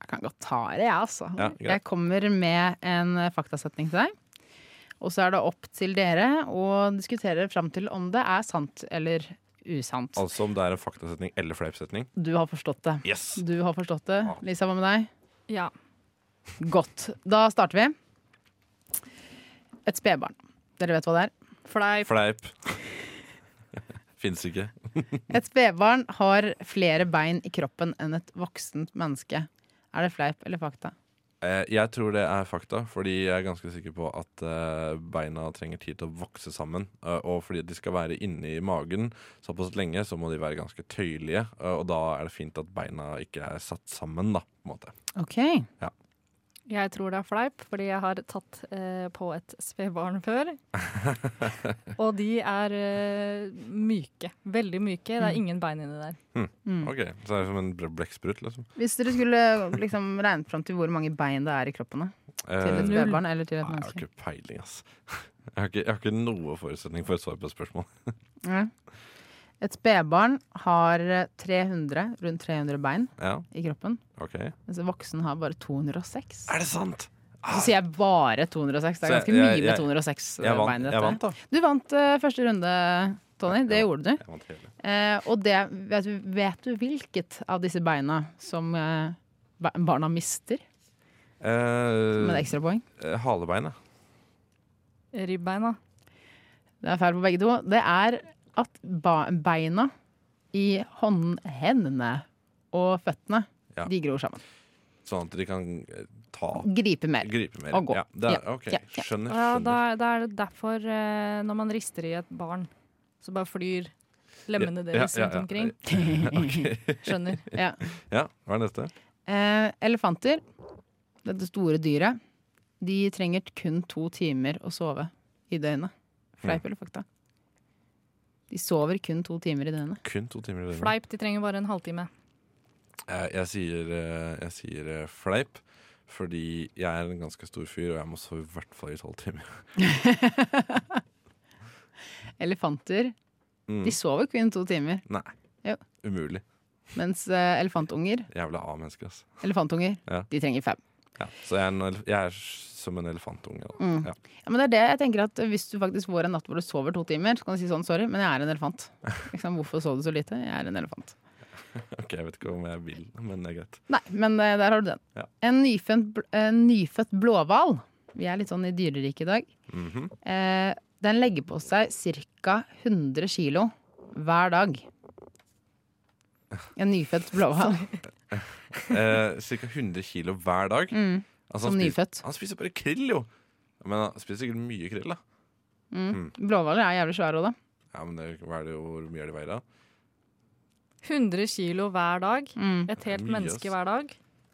Speaker 4: Jeg kan godt ta det, jeg, altså.
Speaker 3: Ja, greit.
Speaker 4: jeg kommer med en eh, faktasetning til deg. Og så er det opp til dere å diskutere fram til om det er sant eller usant.
Speaker 3: Altså om det er en faktasetning eller fleipsetning.
Speaker 4: Du har forstått det.
Speaker 3: Yes!
Speaker 4: Du har forstått det.
Speaker 3: Ja.
Speaker 4: Lisa, hva med deg?
Speaker 5: Ja.
Speaker 4: Godt. Da starter vi. Et spedbarn. Dere vet hva det er?
Speaker 5: Fleip.
Speaker 3: Fleip. Fins ikke.
Speaker 4: Et spedbarn har flere bein i kroppen enn et voksent menneske. Er det fleip eller fakta?
Speaker 3: Eh, Jeg tror det er fakta, fordi jeg er ganske sikker på at eh, beina trenger tid til å vokse sammen. eh, Og fordi de skal være inni magen såpass lenge, så må de være ganske tøyelige. eh, Og da er det fint at beina ikke er satt sammen, da. På en måte.
Speaker 4: Ok.
Speaker 5: Jeg tror det er fleip, fordi jeg har tatt eh, på et spedbarn før. og de er eh, myke. Veldig myke.
Speaker 3: Mm.
Speaker 5: Det er ingen bein inni der.
Speaker 3: Ok, Så er det som en ble- blekksprut, liksom.
Speaker 4: Hvis dere skulle liksom regnet fram til hvor mange bein det er i kroppen da, til
Speaker 3: Eh,
Speaker 4: et
Speaker 3: nei,
Speaker 5: null.
Speaker 4: spedbarn eller til et
Speaker 3: jeg har
Speaker 4: menneske?
Speaker 3: ikke peiling, ass. Jeg har ikke, jeg har ikke noe forutsetning for et svar på et spørsmål.
Speaker 4: Nei. Et spedbarn har 300, rundt 300 bein
Speaker 3: Ja,
Speaker 4: i kroppen,
Speaker 3: ok Er
Speaker 4: mens en voksen har bare 2206.
Speaker 3: det sant?!
Speaker 4: Så sier jeg bare 206. Det er
Speaker 3: Så jeg-
Speaker 4: ganske mye
Speaker 3: jeg-
Speaker 4: med
Speaker 3: jeg-
Speaker 4: 206
Speaker 3: Ah, Jeg
Speaker 4: bein
Speaker 3: vant,
Speaker 4: i
Speaker 3: jeg
Speaker 4: dette.
Speaker 3: vant da.
Speaker 4: Du vant eh, første runde, Tony. Det
Speaker 3: Ja.
Speaker 4: gjorde du.
Speaker 3: Jeg vant hele.
Speaker 4: Eh, og det, vet, du, vet du hvilket av disse beina som eh, ba- barna mister?
Speaker 3: Eh,
Speaker 4: Med et ekstrapoeng.
Speaker 3: eh, Halebeinet.
Speaker 5: Ribbeina.
Speaker 4: Det er feil på begge to. Det er at ba beina i hånden, hendene og føttene
Speaker 3: Ja.
Speaker 4: de gror sammen.
Speaker 3: Sånn at de kan eh, ta
Speaker 4: Gripe mer.
Speaker 3: Gripe mer.
Speaker 4: Og gå.
Speaker 3: Ja, det er,
Speaker 4: Ja,
Speaker 3: ok,
Speaker 4: ja, ja.
Speaker 3: skjønner.
Speaker 5: Ja, da,
Speaker 3: skjønner.
Speaker 5: da er det derfor, eh, når man rister i et barn, så bare flyr lemmene
Speaker 3: Ja,
Speaker 5: deres
Speaker 3: ja,
Speaker 5: rundt
Speaker 3: ja.
Speaker 5: omkring.
Speaker 3: Ok.
Speaker 5: Skjønner.
Speaker 4: Ja.
Speaker 3: Ja, hva er neste?
Speaker 4: Eh, elefanter, dette store dyret, de trenger kun to timer å sove i døgnet. Fleip eller fakta? De sover kun to timer i døgnet.
Speaker 3: Kun to timer i døgnet.
Speaker 5: Fleip, de trenger bare en halvtime.
Speaker 3: Jeg, jeg, sier, eh, jeg sier eh, fleip, fordi jeg er en ganske stor fyr, og jeg må sove i hvert fall i tolv timer.
Speaker 4: Elefanter
Speaker 3: Mm.
Speaker 4: de sover kun to timer,
Speaker 3: Nei.
Speaker 4: Jo.
Speaker 3: Umulig.
Speaker 4: mens eh, elefantunger
Speaker 3: Jævla A-menneske, ass.
Speaker 4: elefantunger,
Speaker 3: Ja.
Speaker 4: de trenger fem.
Speaker 3: Ja. Så jeg er, en, elef- jeg er som en elefantunge. Da.
Speaker 4: Mm.
Speaker 3: Ja.
Speaker 4: Ja, men det er det jeg tenker at Hvis du faktisk får en natt hvor du sover to timer, så kan du si sånn sorry, men jeg er en elefant. Liksom, hvorfor sov du så lite? Jeg er en elefant.
Speaker 3: Ok, Jeg vet ikke om jeg vil, men det er greit.
Speaker 4: Nei, men eh, der har du den.
Speaker 3: Ja.
Speaker 4: En nyfødt, bl- en nyfødt blåhval. Vi er litt sånn i dyreriket i dag.
Speaker 3: Mhm.
Speaker 4: Eh, den legger på seg ca. 100 kilo hver dag. En nyfødt blåhval.
Speaker 3: eh, Cirka 100 kilo hver dag.
Speaker 4: Mm.
Speaker 3: Altså,
Speaker 4: Som
Speaker 3: han spiser,
Speaker 4: nyfødt.
Speaker 3: han spiser bare krill, jo! Men han spiser sikkert mye krill, da.
Speaker 4: Mm.
Speaker 3: Mm.
Speaker 4: Blåhvaler er jævlig svære òg, da.
Speaker 3: Ja, men det, hva er det, Hvor mye er det i veier, da?
Speaker 5: 100 kilo hver dag.
Speaker 4: Mm.
Speaker 5: Et helt
Speaker 3: Mye,
Speaker 5: menneske
Speaker 3: ass.
Speaker 5: hver dag.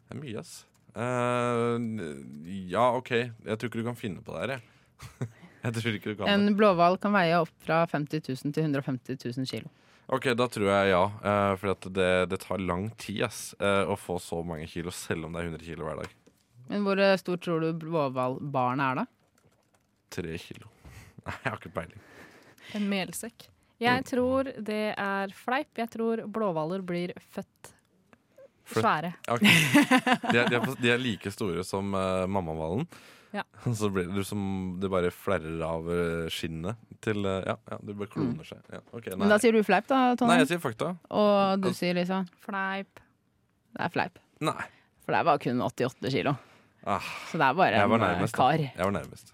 Speaker 3: Det er mye, ass. Eh, ja, OK. Jeg tror ikke du kan finne på det her, jeg. jeg tror ikke du kan det.
Speaker 4: En blåhval kan veie opp fra 50 000 til 150 000 kilo.
Speaker 3: Ok, da tror jeg ja. Uh, for at det, det tar lang tid ass, eh, å få så mange kilo, selv om det er 100 kilo hver dag.
Speaker 4: Men hvor eh, stort tror du blåhvalbarnet er, da?
Speaker 3: Tre kilo. Nei, jeg har ikke peiling.
Speaker 5: En melsekk. Jeg tror det er fleip. Jeg tror blåhvaler blir født
Speaker 3: Født.
Speaker 5: svære.
Speaker 3: Ok. De, er, de, er, på- de er like store som uh, mammahvalen.
Speaker 5: Ja.
Speaker 3: Så blir det som det bare flerrer av eh, skinnet til eh, Ja, ja det bare kloner seg. Ja, ok,
Speaker 4: Men
Speaker 3: nei.
Speaker 4: da sier du fleip, da, Tonje.
Speaker 3: nei, jeg sier fakta.
Speaker 4: Og du sier Lisa
Speaker 5: Fleip.
Speaker 4: det er fleip.
Speaker 3: Nei.
Speaker 4: For det var kun 88 kilo.
Speaker 3: Ah,
Speaker 4: Så det er bare
Speaker 3: jeg
Speaker 4: en
Speaker 3: var
Speaker 4: eh,
Speaker 3: nærmest.
Speaker 4: kar.
Speaker 3: Da. Jeg var nærmest.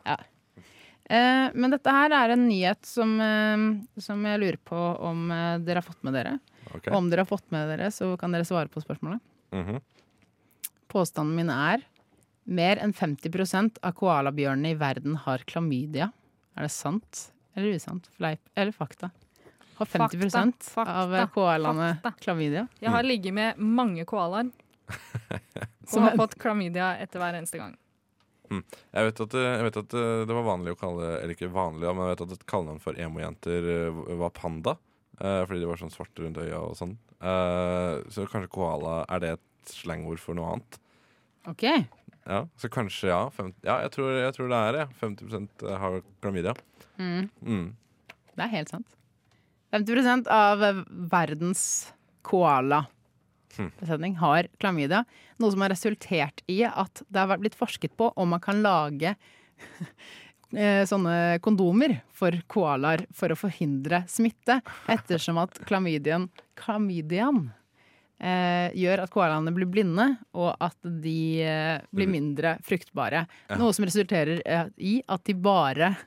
Speaker 4: Eh, men dette her er en nyhet som, eh, som jeg lurer på om eh, dere har fått med dere.
Speaker 3: Ok.
Speaker 4: Og om dere har fått med dere, så kan dere svare på spørsmålet.
Speaker 3: Mhm.
Speaker 4: Påstanden min er mer enn 50 av koalabjørnene i verden har klamydia. Er det sant eller usant? Fleip eller fakta? Har 50
Speaker 5: Fakta,
Speaker 4: av
Speaker 5: fakta,
Speaker 4: eh, koalaene
Speaker 5: fakta.
Speaker 4: klamydia?
Speaker 5: Jeg
Speaker 3: Mm.
Speaker 5: har ligget med mange koalaer.
Speaker 4: Som
Speaker 5: Som har
Speaker 4: en-
Speaker 5: fått klamydia etter hver eneste gang.
Speaker 3: Jeg vet, at, eh, jeg vet at eh, det var vanlig å kalle Eller ikke vanlig, ja, men jeg vet at et kallenavn for emojenter eh, var panda. eh, fordi de var sånn svarte rundt øya og sånn. Eh, så kanskje koala er det et slangord for noe annet.
Speaker 4: Ok,
Speaker 3: Ja, Så kanskje, ja. Fem, ja, jeg tror, jeg tror det er det. ja. 50 har klamydia.
Speaker 4: Mm.
Speaker 3: Mm.
Speaker 4: det er helt sant. 50 av eh, verdens koala
Speaker 3: Hm.
Speaker 4: besetning har klamydia. Noe som har resultert i at det har vært- blitt forsket på om man kan lage eh, sånne kondomer for koalaer for å forhindre smitte, ettersom at klamydian, klamydian eh, gjør at koalaene blir blinde, og at de eh,
Speaker 3: Mhm.
Speaker 4: blir mindre fruktbare. Noe som resulterer eh, i at de bare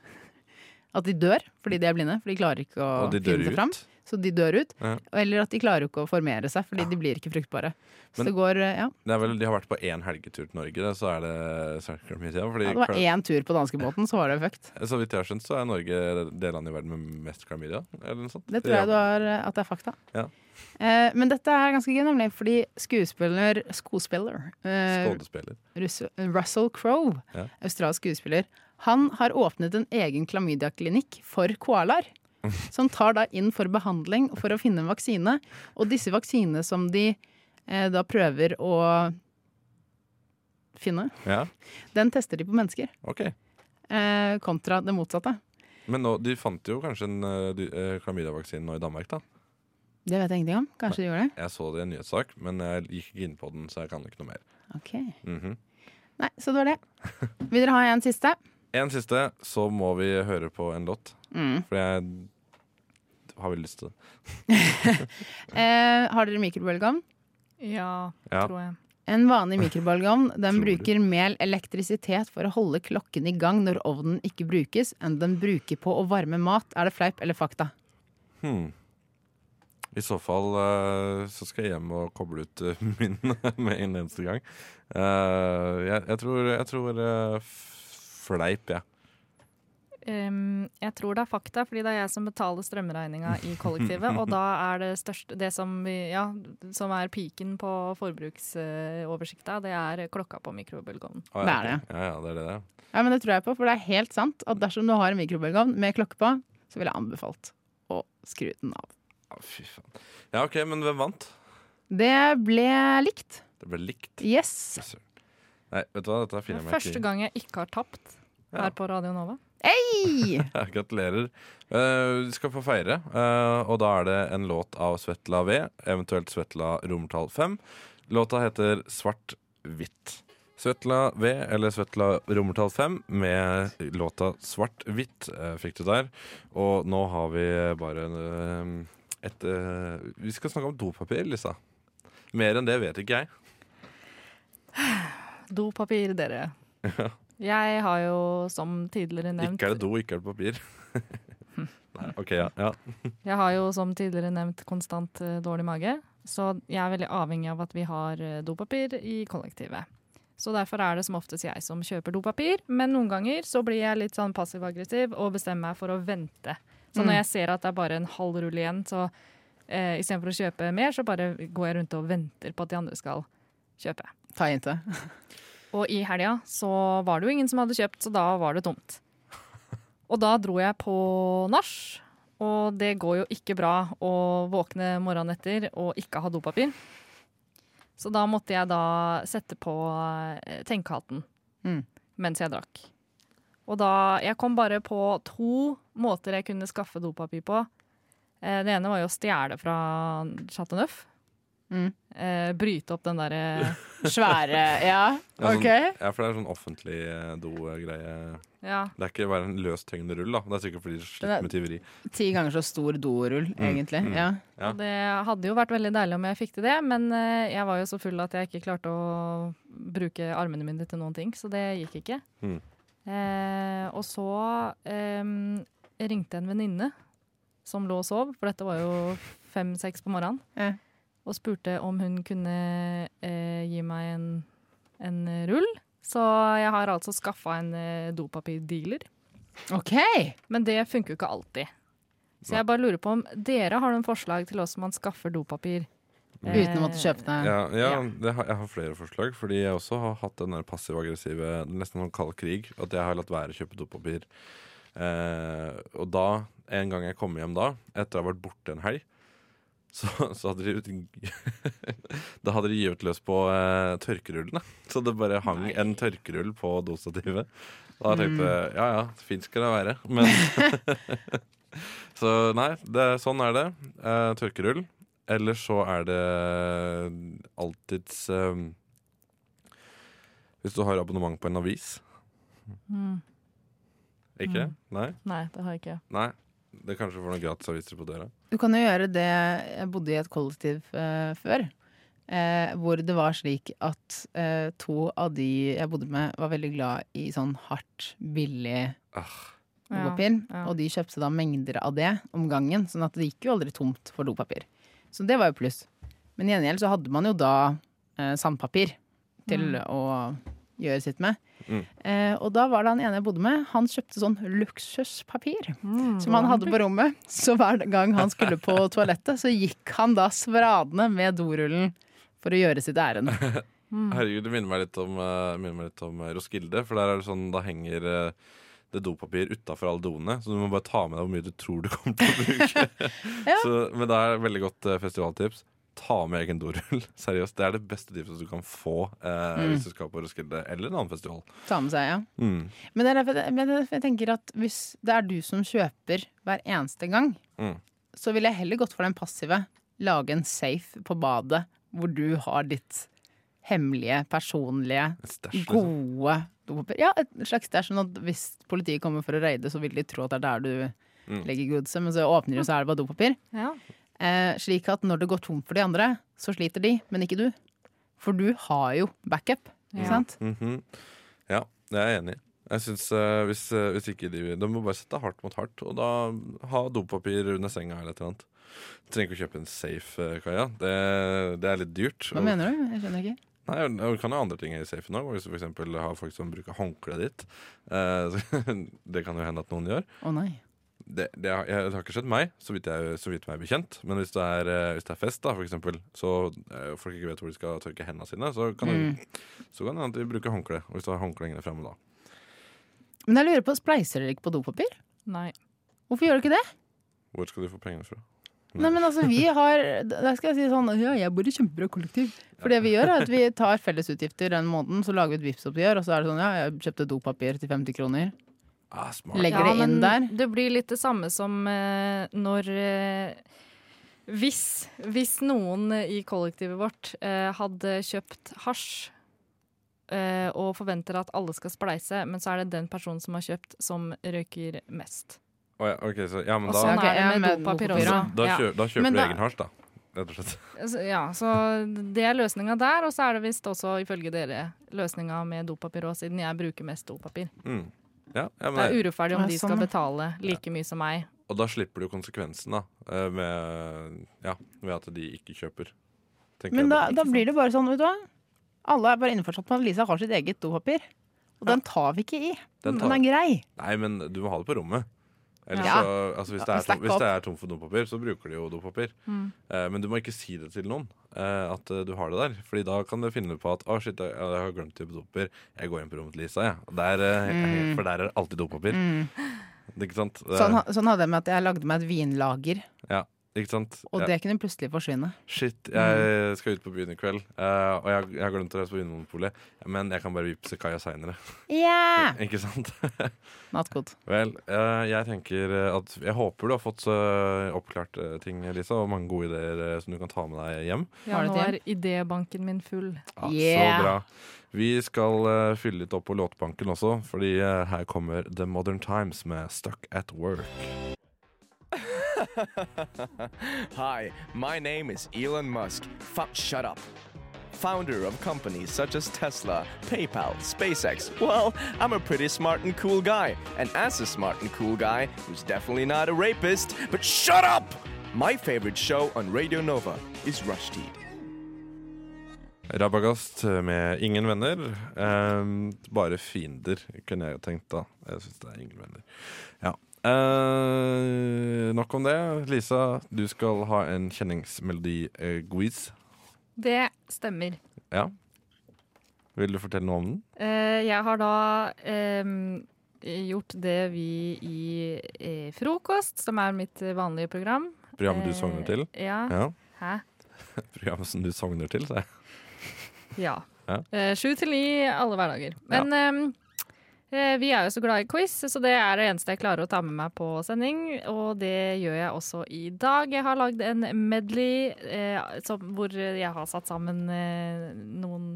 Speaker 4: at de dør fordi de er blinde, for de klarer ikke å
Speaker 3: Og de dør
Speaker 4: finne seg fram.
Speaker 3: ut.
Speaker 4: Så de dør ut.
Speaker 3: Ja.
Speaker 4: Eller at de klarer jo ikke å formere seg, fordi de blir ikke fruktbare. Så
Speaker 3: Men-
Speaker 4: det går eh, Ja.
Speaker 3: Det er vel, de har vært på én helgetur til Norge, det, så er det, så er det klamydia. Fordi,
Speaker 4: Ja, Det var én tur på danskebåten, så var det fucked.
Speaker 3: Så vidt jeg har skjønt, så er Norge det landet i verden med mest klamydia. Eller noe sånt.
Speaker 4: Det tror jeg du
Speaker 3: Ja.
Speaker 4: har, at det er fakta.
Speaker 3: Ja.
Speaker 4: Eh, men dette er ganske gøy, nemlig fordi skuespiller Skuespiller eh,
Speaker 3: Skådespiller.
Speaker 4: Russell, Russell Crowe,
Speaker 3: Ja.
Speaker 4: australsk skuespiller, han har åpnet en egen klamydiaklinikk for koalaer. Som tar da inn for behandling for å finne en vaksine. Og disse vaksinene som de eh, da prøver å finne,
Speaker 3: Ja,
Speaker 4: den tester de på mennesker.
Speaker 3: ok
Speaker 4: Eh, kontra det motsatte.
Speaker 3: Men nå, de fant jo kanskje en eh, dy- eh, klamydiavaksine nå i Danmark, da.
Speaker 4: Det vet jeg ingenting om. Kanskje de gjør det?
Speaker 3: Jeg så det i en nyhetssak, men jeg gikk ikke inn på den, så jeg kan ikke noe mer.
Speaker 4: Ok.
Speaker 3: Mhm.
Speaker 4: Nei, så det var det. Vil dere ha en siste?
Speaker 3: En siste, så må vi høre på en låt.
Speaker 4: Mm.
Speaker 3: For jeg har veldig lyst til det.
Speaker 4: Eh, har dere mikrobølgeovn?
Speaker 5: Ja,
Speaker 3: Ja.
Speaker 5: tror jeg.
Speaker 4: En vanlig mikrobølgeovn den
Speaker 3: Tror du?
Speaker 4: bruker mer elektrisitet for å holde klokken i gang når ovnen ikke brukes, enn den bruker på å varme mat. Er det fleip eller fakta?
Speaker 3: Hmm. I så fall eh, så skal jeg hjem og koble ut eh, min med en eneste gang. Eh, jeg, jeg tror, jeg tror eh, f- fleip, jeg.
Speaker 5: Ehm, jeg tror det er fakta, fordi det er jeg som betaler strømregninga i kollektivet. Og da er det største Det som, vi, ja, som er piken på forbruksoversikta, det er klokka på mikrobølgeovnen.
Speaker 3: Å, ja,
Speaker 4: Det er
Speaker 3: ok. Ja, ja, det er det det. er.
Speaker 4: Ja, men Det tror jeg på, for det er helt sant at dersom du har en mikrobølgeovn med klokke på, så ville jeg anbefalt å skru den av.
Speaker 3: Å, fy faen. Ja, OK, men hvem vant?
Speaker 4: Det ble likt.
Speaker 3: Det ble likt.
Speaker 4: Yes.
Speaker 3: Søren. Nei, vet du hva, dette
Speaker 5: Det
Speaker 3: finner
Speaker 5: er
Speaker 3: jeg meg
Speaker 5: første
Speaker 3: ikke i.
Speaker 5: gang jeg ikke har tapt
Speaker 3: Ja.
Speaker 5: her på Radio Nova.
Speaker 4: Hei!
Speaker 3: Ja, Gratulerer. Eh, Du skal få feire, eh, og da er det en låt av Svetla V, eventuelt Svetla romertall 5. Låta heter Svart-hvitt. Svetla V eller Svetla romertall 5 med låta Svart-hvitt eh, fikk du der. Og nå har vi bare en, eh, et eh, Vi skal snakke om dopapir, Lisa. Mer enn det vet ikke jeg.
Speaker 5: Dopapir, dere. Jeg har jo, som tidligere nevnt
Speaker 3: Ikke er det do, ikke er det papir. Nei, OK, ja. ja.
Speaker 5: Jeg har jo som tidligere nevnt konstant eh, dårlig mage, så jeg er veldig avhengig av at vi har eh, dopapir i kollektivet. Så derfor er det som oftest jeg som kjøper dopapir, men noen ganger så blir jeg litt sånn passiv-aggressiv og bestemmer meg for å vente.
Speaker 4: Mm.
Speaker 5: Så når jeg ser at det er bare en halv rull igjen, så eh, istedenfor å kjøpe mer, så bare går jeg rundt og venter på at de andre skal kjøpe.
Speaker 4: Ta jente.
Speaker 5: Og i helga så var det jo ingen som hadde kjøpt, så da var det tomt. Og da dro jeg på nach, og det går jo ikke bra å våkne morgenen etter og ikke ha dopapir. Så da måtte jeg da sette på eh, tenkehatten
Speaker 4: Mm.
Speaker 5: mens jeg drakk. Og da Jeg kom bare på to måter jeg kunne skaffe dopapir på. Eh, Det ene var jo å stjele fra Chateau Neuf.
Speaker 4: Mm.
Speaker 5: Eh, Bryte opp den eh, derre
Speaker 4: Svære Ja,
Speaker 3: Ja, sånn-
Speaker 4: OK.
Speaker 3: Ja, for det er sånn offentlig eh, do-greie.
Speaker 5: ja,
Speaker 3: Det er ikke bare en løst hengende rull, da. Det er sikkert fordi de sliter med tyveri.
Speaker 4: Ti ganger så stor dorull, egentlig.
Speaker 3: mm.
Speaker 4: Ja.
Speaker 3: Ja.
Speaker 5: Og det hadde jo vært veldig deilig om jeg fikk til det, men eh, jeg var jo så full at jeg ikke klarte å bruke armene mine til noen ting, så det gikk ikke.
Speaker 3: Mm.
Speaker 5: Eh, og så em, ringte en venninne som lå og sov, for dette var jo fem-seks på morgenen,
Speaker 4: Ja.
Speaker 5: og spurte om hun kunne eh, gi meg en, en rull. Så jeg har altså skaffa en eh, dopapirdealer.
Speaker 4: OK!
Speaker 5: Men det funker jo ikke alltid. Så jeg bare lurer på om dere har noen forslag til hvordan man skaffer dopapir.
Speaker 4: Uten å måtte kjøpe det.
Speaker 3: Ja, ja,
Speaker 5: Ja.
Speaker 3: det har, jeg har flere forslag, fordi jeg også har hatt den der passiv-aggressive Nesten sånn kald krig. At jeg har latt være å kjøpe dopapir. Eh, og da, en gang jeg kom hjem da, etter å ha vært borte en helg, så, så hadde de ut- Da hadde de gitt løs på eh, tørkerullene. Så det bare hang en tørkerull på dostativet. Da tenkte jeg ja ja, fint skal det være, men Så nei, det, sånn er det. Eh, tørkerull. Eller så er det alltids eh, Hvis du har abonnement på en avis.
Speaker 5: Mm.
Speaker 3: Ikke?
Speaker 5: Mm.
Speaker 3: Nei?
Speaker 5: Nei, det har jeg ikke.
Speaker 3: Nei. Det er kanskje for noen gratisaviser på døra.
Speaker 4: Du kan jo gjøre det Jeg bodde i et kollektiv eh, før. eh, hvor det var slik at eh, to av de jeg bodde med, var veldig glad i sånn hardt, billig
Speaker 3: Ah,
Speaker 4: dopapir.
Speaker 5: ja.
Speaker 4: Og de kjøpte da mengder av det om gangen, sånn at det gikk jo aldri tomt for dopapir. Så det var jo pluss. Men i gjengjeld så hadde man jo da eh, sandpapir til
Speaker 5: Mm.
Speaker 4: å gjøre sitt med.
Speaker 3: Mm.
Speaker 4: Eh, og da var det han ene jeg bodde med, han kjøpte sånn luksuspapir Mm. som han hadde på rommet. Så hver gang han skulle på toalettet, så gikk han da svradende med dorullen for å gjøre sitt ærend.
Speaker 3: Herregud, det minner meg litt om, eh, minner meg litt om eh, Roskilde. For der er det sånn, da henger eh, det dopapir utafor alle doene. Så du må bare ta med deg hvor mye du tror du kommer til å bruke. så, men det er et veldig godt eh, festivaltips. Ta med egen dorull. Seriøst. Det er det beste tipset du kan få eh,
Speaker 4: Mm.
Speaker 3: hvis du skal på Roskilde eller en annen festival.
Speaker 4: Ta med seg, ja.
Speaker 3: Mm.
Speaker 4: Men det er derfor men det er derfor jeg tenker at hvis det er du som kjøper hver eneste gang,
Speaker 3: Mm.
Speaker 4: så ville jeg heller gått for den passive. Lage en safe på badet hvor du har ditt hemmelige, personlige,
Speaker 3: Et stæsj, liksom.
Speaker 4: gode dopapir. Ja, et slags stæsj. Sånn at hvis politiet kommer for å raide, så vil de tro at det er der du
Speaker 3: Mm.
Speaker 4: legger goodset, men så åpner de, så er det bare dopapir.
Speaker 5: Ja.
Speaker 4: Eh, slik at når det går tomt for de andre, så sliter de, men ikke du. For du har jo backup, ikke
Speaker 5: Ja.
Speaker 4: sant?
Speaker 3: Mhm. Ja, det er jeg enig i. Jeg synes, eh, hvis, eh, hvis ikke de De må bare sette hardt mot hardt, og da ha dopapir under senga eller et eller annet. Trenger ikke å kjøpe en safe, eh, Kaja. Det, det er litt dyrt.
Speaker 4: Hva mener du? Jeg skjønner ikke.
Speaker 3: Nei, Du kan ha andre ting i safen òg. Hvis du f.eks. har folk som bruker håndkleet ditt. Eh, så- Det kan jo hende at noen gjør.
Speaker 4: Å nei.
Speaker 3: Det, det, har, jeg, det har ikke skjedd meg, så vidt jeg, så vidt meg er bekjent. Men hvis det er, eh, hvis det er fest, da, for eksempel, så eh, folk ikke vet hvor de skal tørke hendene sine, så kan,
Speaker 4: Mm.
Speaker 3: det- så kan det hende at de bruker håndkle. og Hvis du har håndkle lenger fremme da.
Speaker 4: Men jeg lurer på, spleiser dere ikke på dopapir?
Speaker 5: Nei.
Speaker 4: Hvorfor gjør dere ikke det?
Speaker 3: Hvor skal du få pengene fra?
Speaker 4: Nei, men altså, vi har Da skal jeg si sånn Ja, jeg bor i kjempebra kollektiv. For det vi gjør, er at vi tar fellesutgifter den måneden, så lager vi et Vipps-oppgjør, og så er det sånn Ja, jeg kjøpte dopapir til 50 kroner.
Speaker 3: Ah, smart.
Speaker 4: Legger det inn der.
Speaker 5: det blir litt det samme som eh, når eh, hvis, hvis noen i kollektivet vårt eh, hadde kjøpt hasj eh, og forventer at alle skal spleise, men så er det den personen som har kjøpt, som røyker mest.
Speaker 3: Å ja, ok, så, ja, men
Speaker 5: Og
Speaker 3: da,
Speaker 5: sånn
Speaker 4: Ok,
Speaker 5: er det
Speaker 4: ja,
Speaker 5: med,
Speaker 4: med
Speaker 5: dopapir
Speaker 4: dopapir,
Speaker 5: også.
Speaker 4: ja.
Speaker 3: da,
Speaker 5: Ja.
Speaker 3: kjø, da kjøper
Speaker 5: Men
Speaker 3: du
Speaker 5: da-
Speaker 3: egen hasj, da. Rett og slett.
Speaker 5: Altså, Ja, så det er løsninga der. Og så er det visst også, ifølge dere, løsninga med dopapir òg, siden jeg bruker mest dopapir.
Speaker 3: Mm. Ja, ja, men
Speaker 5: Det er
Speaker 3: det-
Speaker 5: urettferdig om
Speaker 4: Ja,
Speaker 5: de
Speaker 4: sånn,
Speaker 5: skal
Speaker 4: ja.
Speaker 5: betale like mye som meg.
Speaker 3: og da slipper du konsekvensen, da. eh, Med, ja, ved at de ikke kjøper. tenker jeg
Speaker 4: Men da,
Speaker 3: bare.
Speaker 4: da blir det bare sånn, vet du hva. Alle er bare innforstått med at Lisa har sitt eget dopapir. Og den tar vi ikke i.
Speaker 3: Den
Speaker 4: Den,
Speaker 3: tar-
Speaker 4: er grei.
Speaker 3: Nei, men du må ha det på rommet. Ellers
Speaker 4: Ja.
Speaker 3: så, altså hvis, det
Speaker 4: Ja,
Speaker 3: er tom,
Speaker 4: stack
Speaker 3: hvis
Speaker 4: opp.
Speaker 3: det er tomt for dopapir, så bruker de jo dopapir.
Speaker 5: Mm.
Speaker 3: Eh, men du må ikke si det til noen eh, at eh, du har det der. Fordi da kan du finne på at Å shit, jeg, jeg har glemt det på dopapir. Jeg går inn på rommet til Lisa, jeg. Og Der, eh,
Speaker 4: Mm.
Speaker 3: For der er det alltid dopapir. Ikke sant? Det-
Speaker 4: Sånn, ha- sånn hadde jeg med at jeg lagde meg et vinlager,
Speaker 3: ikke sant?
Speaker 4: og
Speaker 3: Ja.
Speaker 4: det Mm. kunne plutselig forsvinne.
Speaker 3: Shit, jeg skal ut på byen i kveld, eh, og jeg, jeg har glemt å reise på Vinmonopolet. Men jeg kan bare vippse Kaja seinere.
Speaker 4: Yeah!
Speaker 3: Ikke sant?
Speaker 4: Nattgodt.
Speaker 3: Vel, eh, jeg tenker at Jeg håper du har fått eh, oppklart eh, ting, Lisa, og mange gode ideer eh, som du kan ta med deg hjem.
Speaker 5: Ja,
Speaker 4: Har du
Speaker 5: nå
Speaker 4: et
Speaker 5: er idébanken min full.
Speaker 3: Ja,
Speaker 4: Yeah.
Speaker 3: Så bra. Vi skal eh, fylle litt opp på låtbanken også, fordi eh, her kommer The Modern Times med Stuck at Work.
Speaker 11: Hi, my name is Elon Musk. Fuck, shut up. Founder of companies such as Tesla, PayPal, SpaceX. Well, I'm a pretty smart and cool guy. And as a smart and cool guy, who's definitely not a rapist, but shut up! My favorite show on Radio Nova is Rush Teeth.
Speaker 3: Rabagast eh, med Ingen venner. Ehm, bare fiender, kunne jeg jo tenkt da. Jeg syns det er ingen venner. Ja. Eh, nok om det. Lisa, du skal ha en eh, kjenningsmelodi-quiz.
Speaker 5: Det stemmer.
Speaker 3: Ja. Vil du fortelle noe om den?
Speaker 5: Eh, jeg har da ehm, gjort det vi i eh, Frokost, som er mitt eh, vanlige program
Speaker 3: Programmet du
Speaker 5: Eh,
Speaker 3: sogner til?
Speaker 5: Ja.
Speaker 3: Ja.
Speaker 5: Hæ?
Speaker 3: Programmet som du sogner til, sa jeg.
Speaker 5: Ja.
Speaker 3: Ja.
Speaker 5: Eh, Sju til ni alle hverdager. Men ehm, eh, vi er jo så glad i quiz, så det er det eneste jeg klarer å ta med meg på sending. Og det gjør jeg også i dag. Jeg har lagd en medley eh, som, hvor jeg har satt sammen eh, noen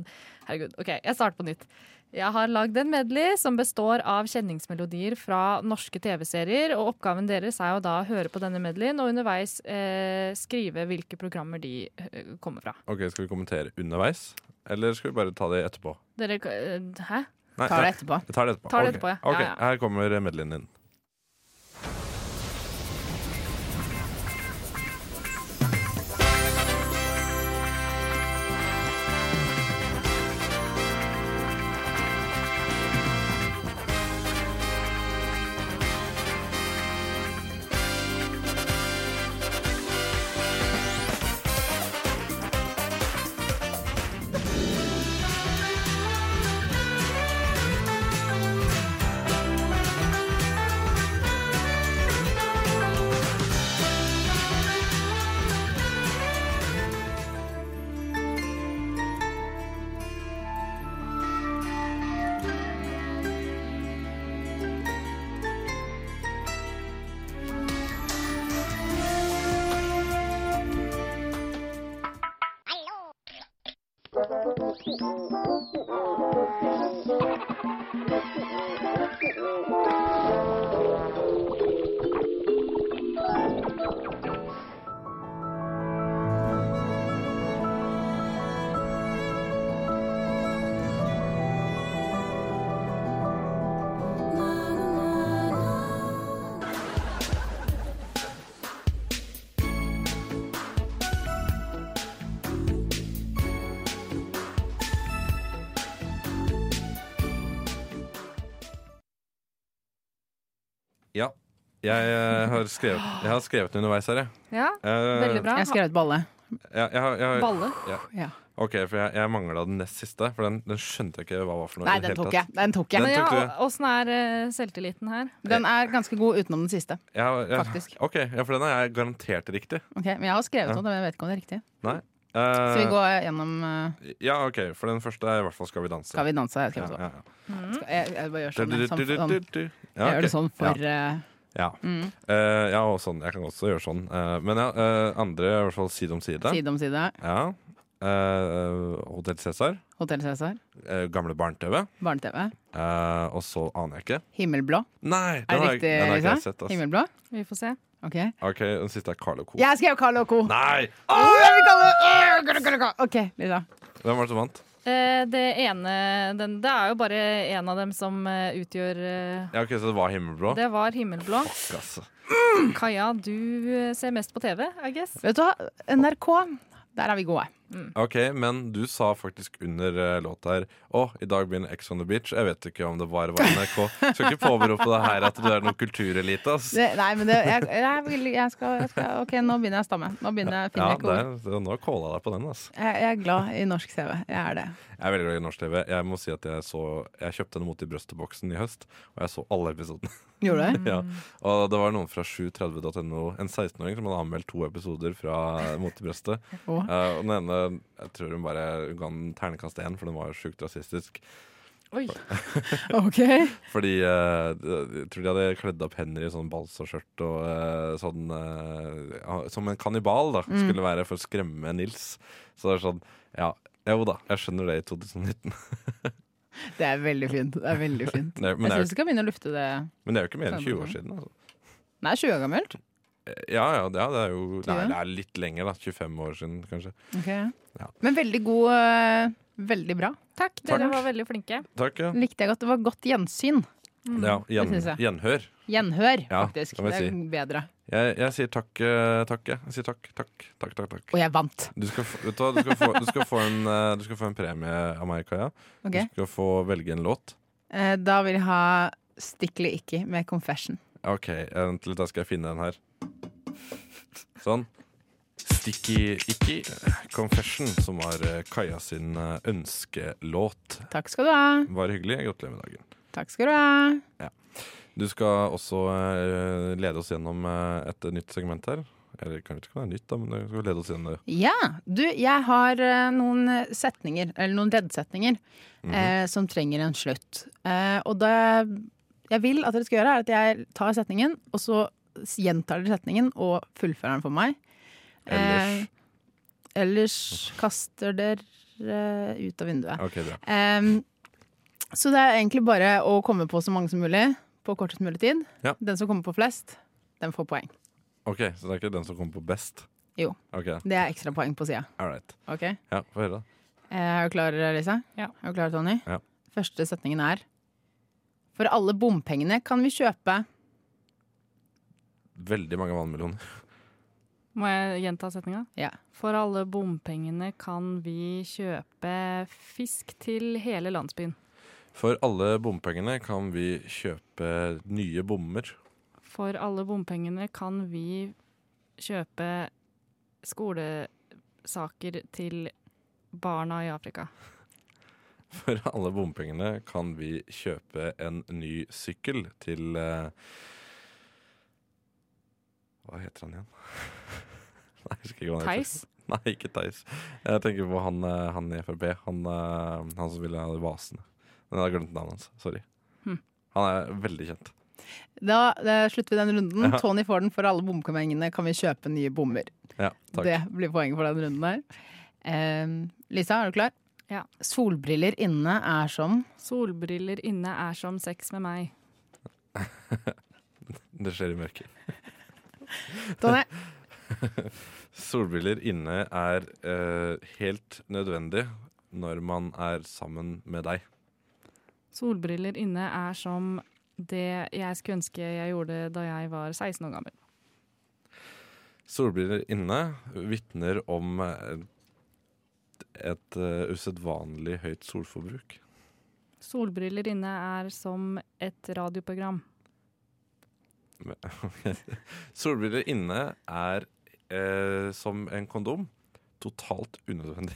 Speaker 5: Herregud. OK, jeg starter på nytt. Jeg har lagd en medley som består av kjenningsmelodier fra norske TV-serier. og Oppgaven deres er jo da å høre på denne medleyen og underveis eh, skrive hvilke programmer de eh, kommer fra.
Speaker 3: Ok, Skal vi kommentere underveis, eller skal vi bare ta det etterpå?
Speaker 5: Dere, eh, hæ?
Speaker 3: Nei,
Speaker 4: Tar
Speaker 3: nei,
Speaker 4: det etterpå.
Speaker 3: jeg tar det etterpå.
Speaker 5: Tar det
Speaker 3: Ok.
Speaker 5: etterpå, ja.
Speaker 3: Ok,
Speaker 5: Ja, ja.
Speaker 3: Her kommer medleyen din. Ja. Jeg, eh, har skrevet, jeg har skrevet den underveis her, jeg.
Speaker 5: Ja,
Speaker 3: Eh,
Speaker 5: veldig bra.
Speaker 4: Jeg skrev ut balle.
Speaker 3: Ja, jeg har- jeg har-
Speaker 5: Balle?
Speaker 3: Ja.
Speaker 4: Ja.
Speaker 3: Ok, for jeg, jeg mangla den nest siste, for den, den skjønte jeg ikke hva var for noe. i
Speaker 4: Nei,
Speaker 3: det
Speaker 4: den
Speaker 3: hele
Speaker 4: tok
Speaker 3: tatt.
Speaker 4: jeg. Den tok jeg.
Speaker 3: Den
Speaker 5: Ja,
Speaker 3: tok
Speaker 5: og-
Speaker 3: du.
Speaker 5: Åssen er eh, selvtilliten her?
Speaker 4: Den er ganske god utenom den siste.
Speaker 3: Ja, ja.
Speaker 4: Faktisk.
Speaker 3: Ok, ja, for den er jeg garantert riktig.
Speaker 4: Ok, Men jeg har skrevet
Speaker 3: Ja.
Speaker 4: noe, men jeg vet ikke om det er riktig.
Speaker 3: Nei.
Speaker 4: Så vi
Speaker 3: Eh,
Speaker 4: går gjennom eh,
Speaker 3: Ja, ok, for den første er i hvert fall Skal vi danse.
Speaker 4: Skal vi danse? Jeg, skrev
Speaker 3: Ja,
Speaker 4: også.
Speaker 3: ja, ja.
Speaker 5: Mm,
Speaker 4: Skal- jeg, jeg bare gjør sånn. jeg, Sånn,
Speaker 3: Du, du, du,
Speaker 4: sånn.
Speaker 3: du, du. Ja,
Speaker 4: Jeg gjør det
Speaker 3: ok.
Speaker 4: sånn for eh,
Speaker 3: Ja.
Speaker 4: Mm.
Speaker 3: Eh, ja, og sånn. Jeg kan også gjøre sånn. Eh, men ja, eh, andre er i hvert fall side om side.
Speaker 4: side om side.
Speaker 3: Ja. Uh, Hotell Cæsar.
Speaker 4: Hotell Cæsar.
Speaker 3: eh, gamle Barne-TV.
Speaker 4: Barne-TV.
Speaker 3: eh, og så aner jeg ikke.
Speaker 4: Himmelblå.
Speaker 3: Nei,
Speaker 4: Er
Speaker 3: den
Speaker 4: det
Speaker 3: har jeg,
Speaker 4: riktig,
Speaker 3: den har ikke
Speaker 4: Lisa?
Speaker 3: jeg sett. ass.
Speaker 4: Himmelblå?
Speaker 5: Vi får se.
Speaker 4: Ok.
Speaker 3: Ok, Den siste er Carl og Co.
Speaker 4: Jeg skrev Carl og Co.
Speaker 3: Nei!
Speaker 4: Åh, jeg vil kalle det- Åh, OK, Lisa.
Speaker 3: Hvem var det som vant?
Speaker 5: Eh, det ene den, Det er jo bare én av dem som eh, utgjør eh,
Speaker 3: Ja, ok, Så det var Himmelblå?
Speaker 5: Det var himmelblå.
Speaker 3: Fuck, ass.
Speaker 5: Kaja, du eh, ser mest på TV, I guess.
Speaker 4: Vet du hva? NRK, der er vi gode.
Speaker 3: Ok, men du sa faktisk under eh, låta her Å, i dag begynner Ex on the Beach. Jeg vet ikke om det bare var NRK. Skal ikke påberope deg her at du er noen kulturelite, ass.
Speaker 4: Det, nei, men det, jeg, jeg, vil, jeg, skal, jeg skal OK, nå begynner jeg å stamme. Nå begynner jeg, finner
Speaker 3: Ja,
Speaker 4: jeg ikke ord.
Speaker 3: det er- nå calla jeg deg på den, ass.
Speaker 4: Jeg, jeg er glad i norsk CV. Jeg er det.
Speaker 3: Jeg er veldig glad i norsk TV. Jeg må si at jeg så Jeg kjøpte en Mot i brøstet-boksen i høst, og jeg så alle episodene.
Speaker 4: Gjorde du det?
Speaker 3: ja. Og det var noen fra 730.no, en 16-åring som hadde anmeldt to episoder fra eh, Mot i brøstet.
Speaker 4: Åh.
Speaker 3: Eh, og den ene Jeg tror hun bare hun ga den ternekast én, for den var sjukt rasistisk.
Speaker 5: Oi.
Speaker 4: OK.
Speaker 3: Fordi eh, jeg tror de hadde kledd opp hender i sånn balsaskjørt og eh, sånn eh, ja, Som en kannibal, da,
Speaker 4: Mm.
Speaker 3: skulle være for å skremme Nils. Så det er sånn Ja, jo da, jeg skjønner det i 2019.
Speaker 4: Det er veldig fint. Det er veldig fint.
Speaker 3: Det er- men
Speaker 4: Jeg
Speaker 3: det er jo
Speaker 4: syns du skal begynne å lufte det.
Speaker 3: Men det er jo ikke mer enn 20 år siden. altså
Speaker 4: Den er 20 år gammelt.
Speaker 3: Ja, ja, det, ja, det er jo Nei,
Speaker 4: Tror du?
Speaker 3: det er litt lenger, da. 25 år siden, kanskje. Ja.
Speaker 4: Men veldig god eh, Veldig bra.
Speaker 5: Takk, dere var veldig flinke.
Speaker 3: Takk, ja.
Speaker 4: Likte jeg godt. Det var godt gjensyn.
Speaker 3: ja gjen,
Speaker 4: Mm. det synes jeg.
Speaker 3: gjenhør.
Speaker 4: Gjenhør,
Speaker 3: Ja,
Speaker 4: faktisk.
Speaker 3: det må
Speaker 4: Det
Speaker 3: jeg
Speaker 4: er bedre.
Speaker 3: Jeg, jeg sier takk, eh, takk, jeg. Jeg sier takk, takk, takk. takk, takk.
Speaker 4: Og jeg vant.
Speaker 3: Du skal, få, vet du, hva, du, skal få, du, skal få en, eh, du skal få en premie av meg, Kaja.
Speaker 4: Ok.
Speaker 3: Du skal få velge en låt.
Speaker 4: Eh, Da vil jeg ha Stikli Ikki med Confession.
Speaker 3: OK, vent litt, da skal jeg finne den her. Sånn. Sticky Icky Confession, som var eh, Kaja sin eh, ønskelåt.
Speaker 4: Takk skal du ha.
Speaker 3: Var hyggelig. Gratulerer med dagen.
Speaker 4: Takk skal du ha.
Speaker 3: Du skal også eh, lede oss gjennom eh, et nytt segment her. Eller kanskje ikke det er nytt, da, men du skal lede oss gjennom det.
Speaker 4: Ja. Du, jeg har eh, noen setninger, eller noen leddsetninger,
Speaker 3: Mhm.
Speaker 4: eh, som trenger en slutt. Eh, og det jeg vil at dere skal gjøre, er at jeg tar setningen, og så s- gjentar dere setningen og fullfører den for meg.
Speaker 3: Ellers
Speaker 4: Eh, ellers kaster dere ut av vinduet.
Speaker 3: OK, bra.
Speaker 4: Ehm, så det er egentlig bare å komme på så mange som mulig på kortest mulig tid.
Speaker 3: Ja.
Speaker 4: Den som kommer på flest, den får poeng.
Speaker 3: Ok, Så det er ikke den som kommer på best?
Speaker 4: Jo.
Speaker 3: Ok,
Speaker 4: Det er ekstra poeng på sida.
Speaker 3: all right.
Speaker 4: Okay?
Speaker 3: Ja, få høre, da.
Speaker 4: Eh, Er du klar, Lisa?
Speaker 5: Ja.
Speaker 4: Er du klar, Tony?
Speaker 3: Ja.
Speaker 4: Første setningen er For alle bompengene kan vi kjøpe
Speaker 3: Veldig mange vannmeloner.
Speaker 5: Må jeg gjenta setninga?
Speaker 4: Ja.
Speaker 5: For alle bompengene kan vi kjøpe fisk til hele landsbyen.
Speaker 3: For alle bompengene kan vi kjøpe nye bommer.
Speaker 5: For alle bompengene kan vi kjøpe skolesaker til barna i Afrika.
Speaker 3: For alle bompengene kan vi kjøpe en ny sykkel til eh, Hva heter han igjen? Nei, jeg husker ikke hva han heter.
Speaker 5: Theis?
Speaker 3: Nei, ikke Theis. Jeg tenker på han, eh, han i Frp. Han, eh, han som ville ha vasene. Men jeg har glemt navnet hans. Sorry.
Speaker 5: Hm.
Speaker 3: Han er veldig kjent.
Speaker 4: Da eh, slutter vi den runden.
Speaker 3: Ja.
Speaker 4: Tony får den. For alle bompengene kan vi kjøpe nye bommer.
Speaker 3: Ja, takk.
Speaker 4: Det blir poenget for den runden der. Ehm, Lisa, er du klar?
Speaker 5: Ja.
Speaker 4: Solbriller inne er som
Speaker 5: Solbriller inne er som sex med meg.
Speaker 3: Det skjer i mørket.
Speaker 4: Tony,
Speaker 3: Solbriller inne er eh, helt nødvendig når man er sammen med deg.
Speaker 5: Solbriller inne er som det jeg skulle ønske jeg gjorde da jeg var 16 år gammel.
Speaker 3: Solbriller inne vitner om eh, et uh, usedvanlig høyt solforbruk.
Speaker 5: Solbriller inne er som et radioprogram.
Speaker 3: med- Solbriller inne er eh, som en kondom. Totalt unødvendig.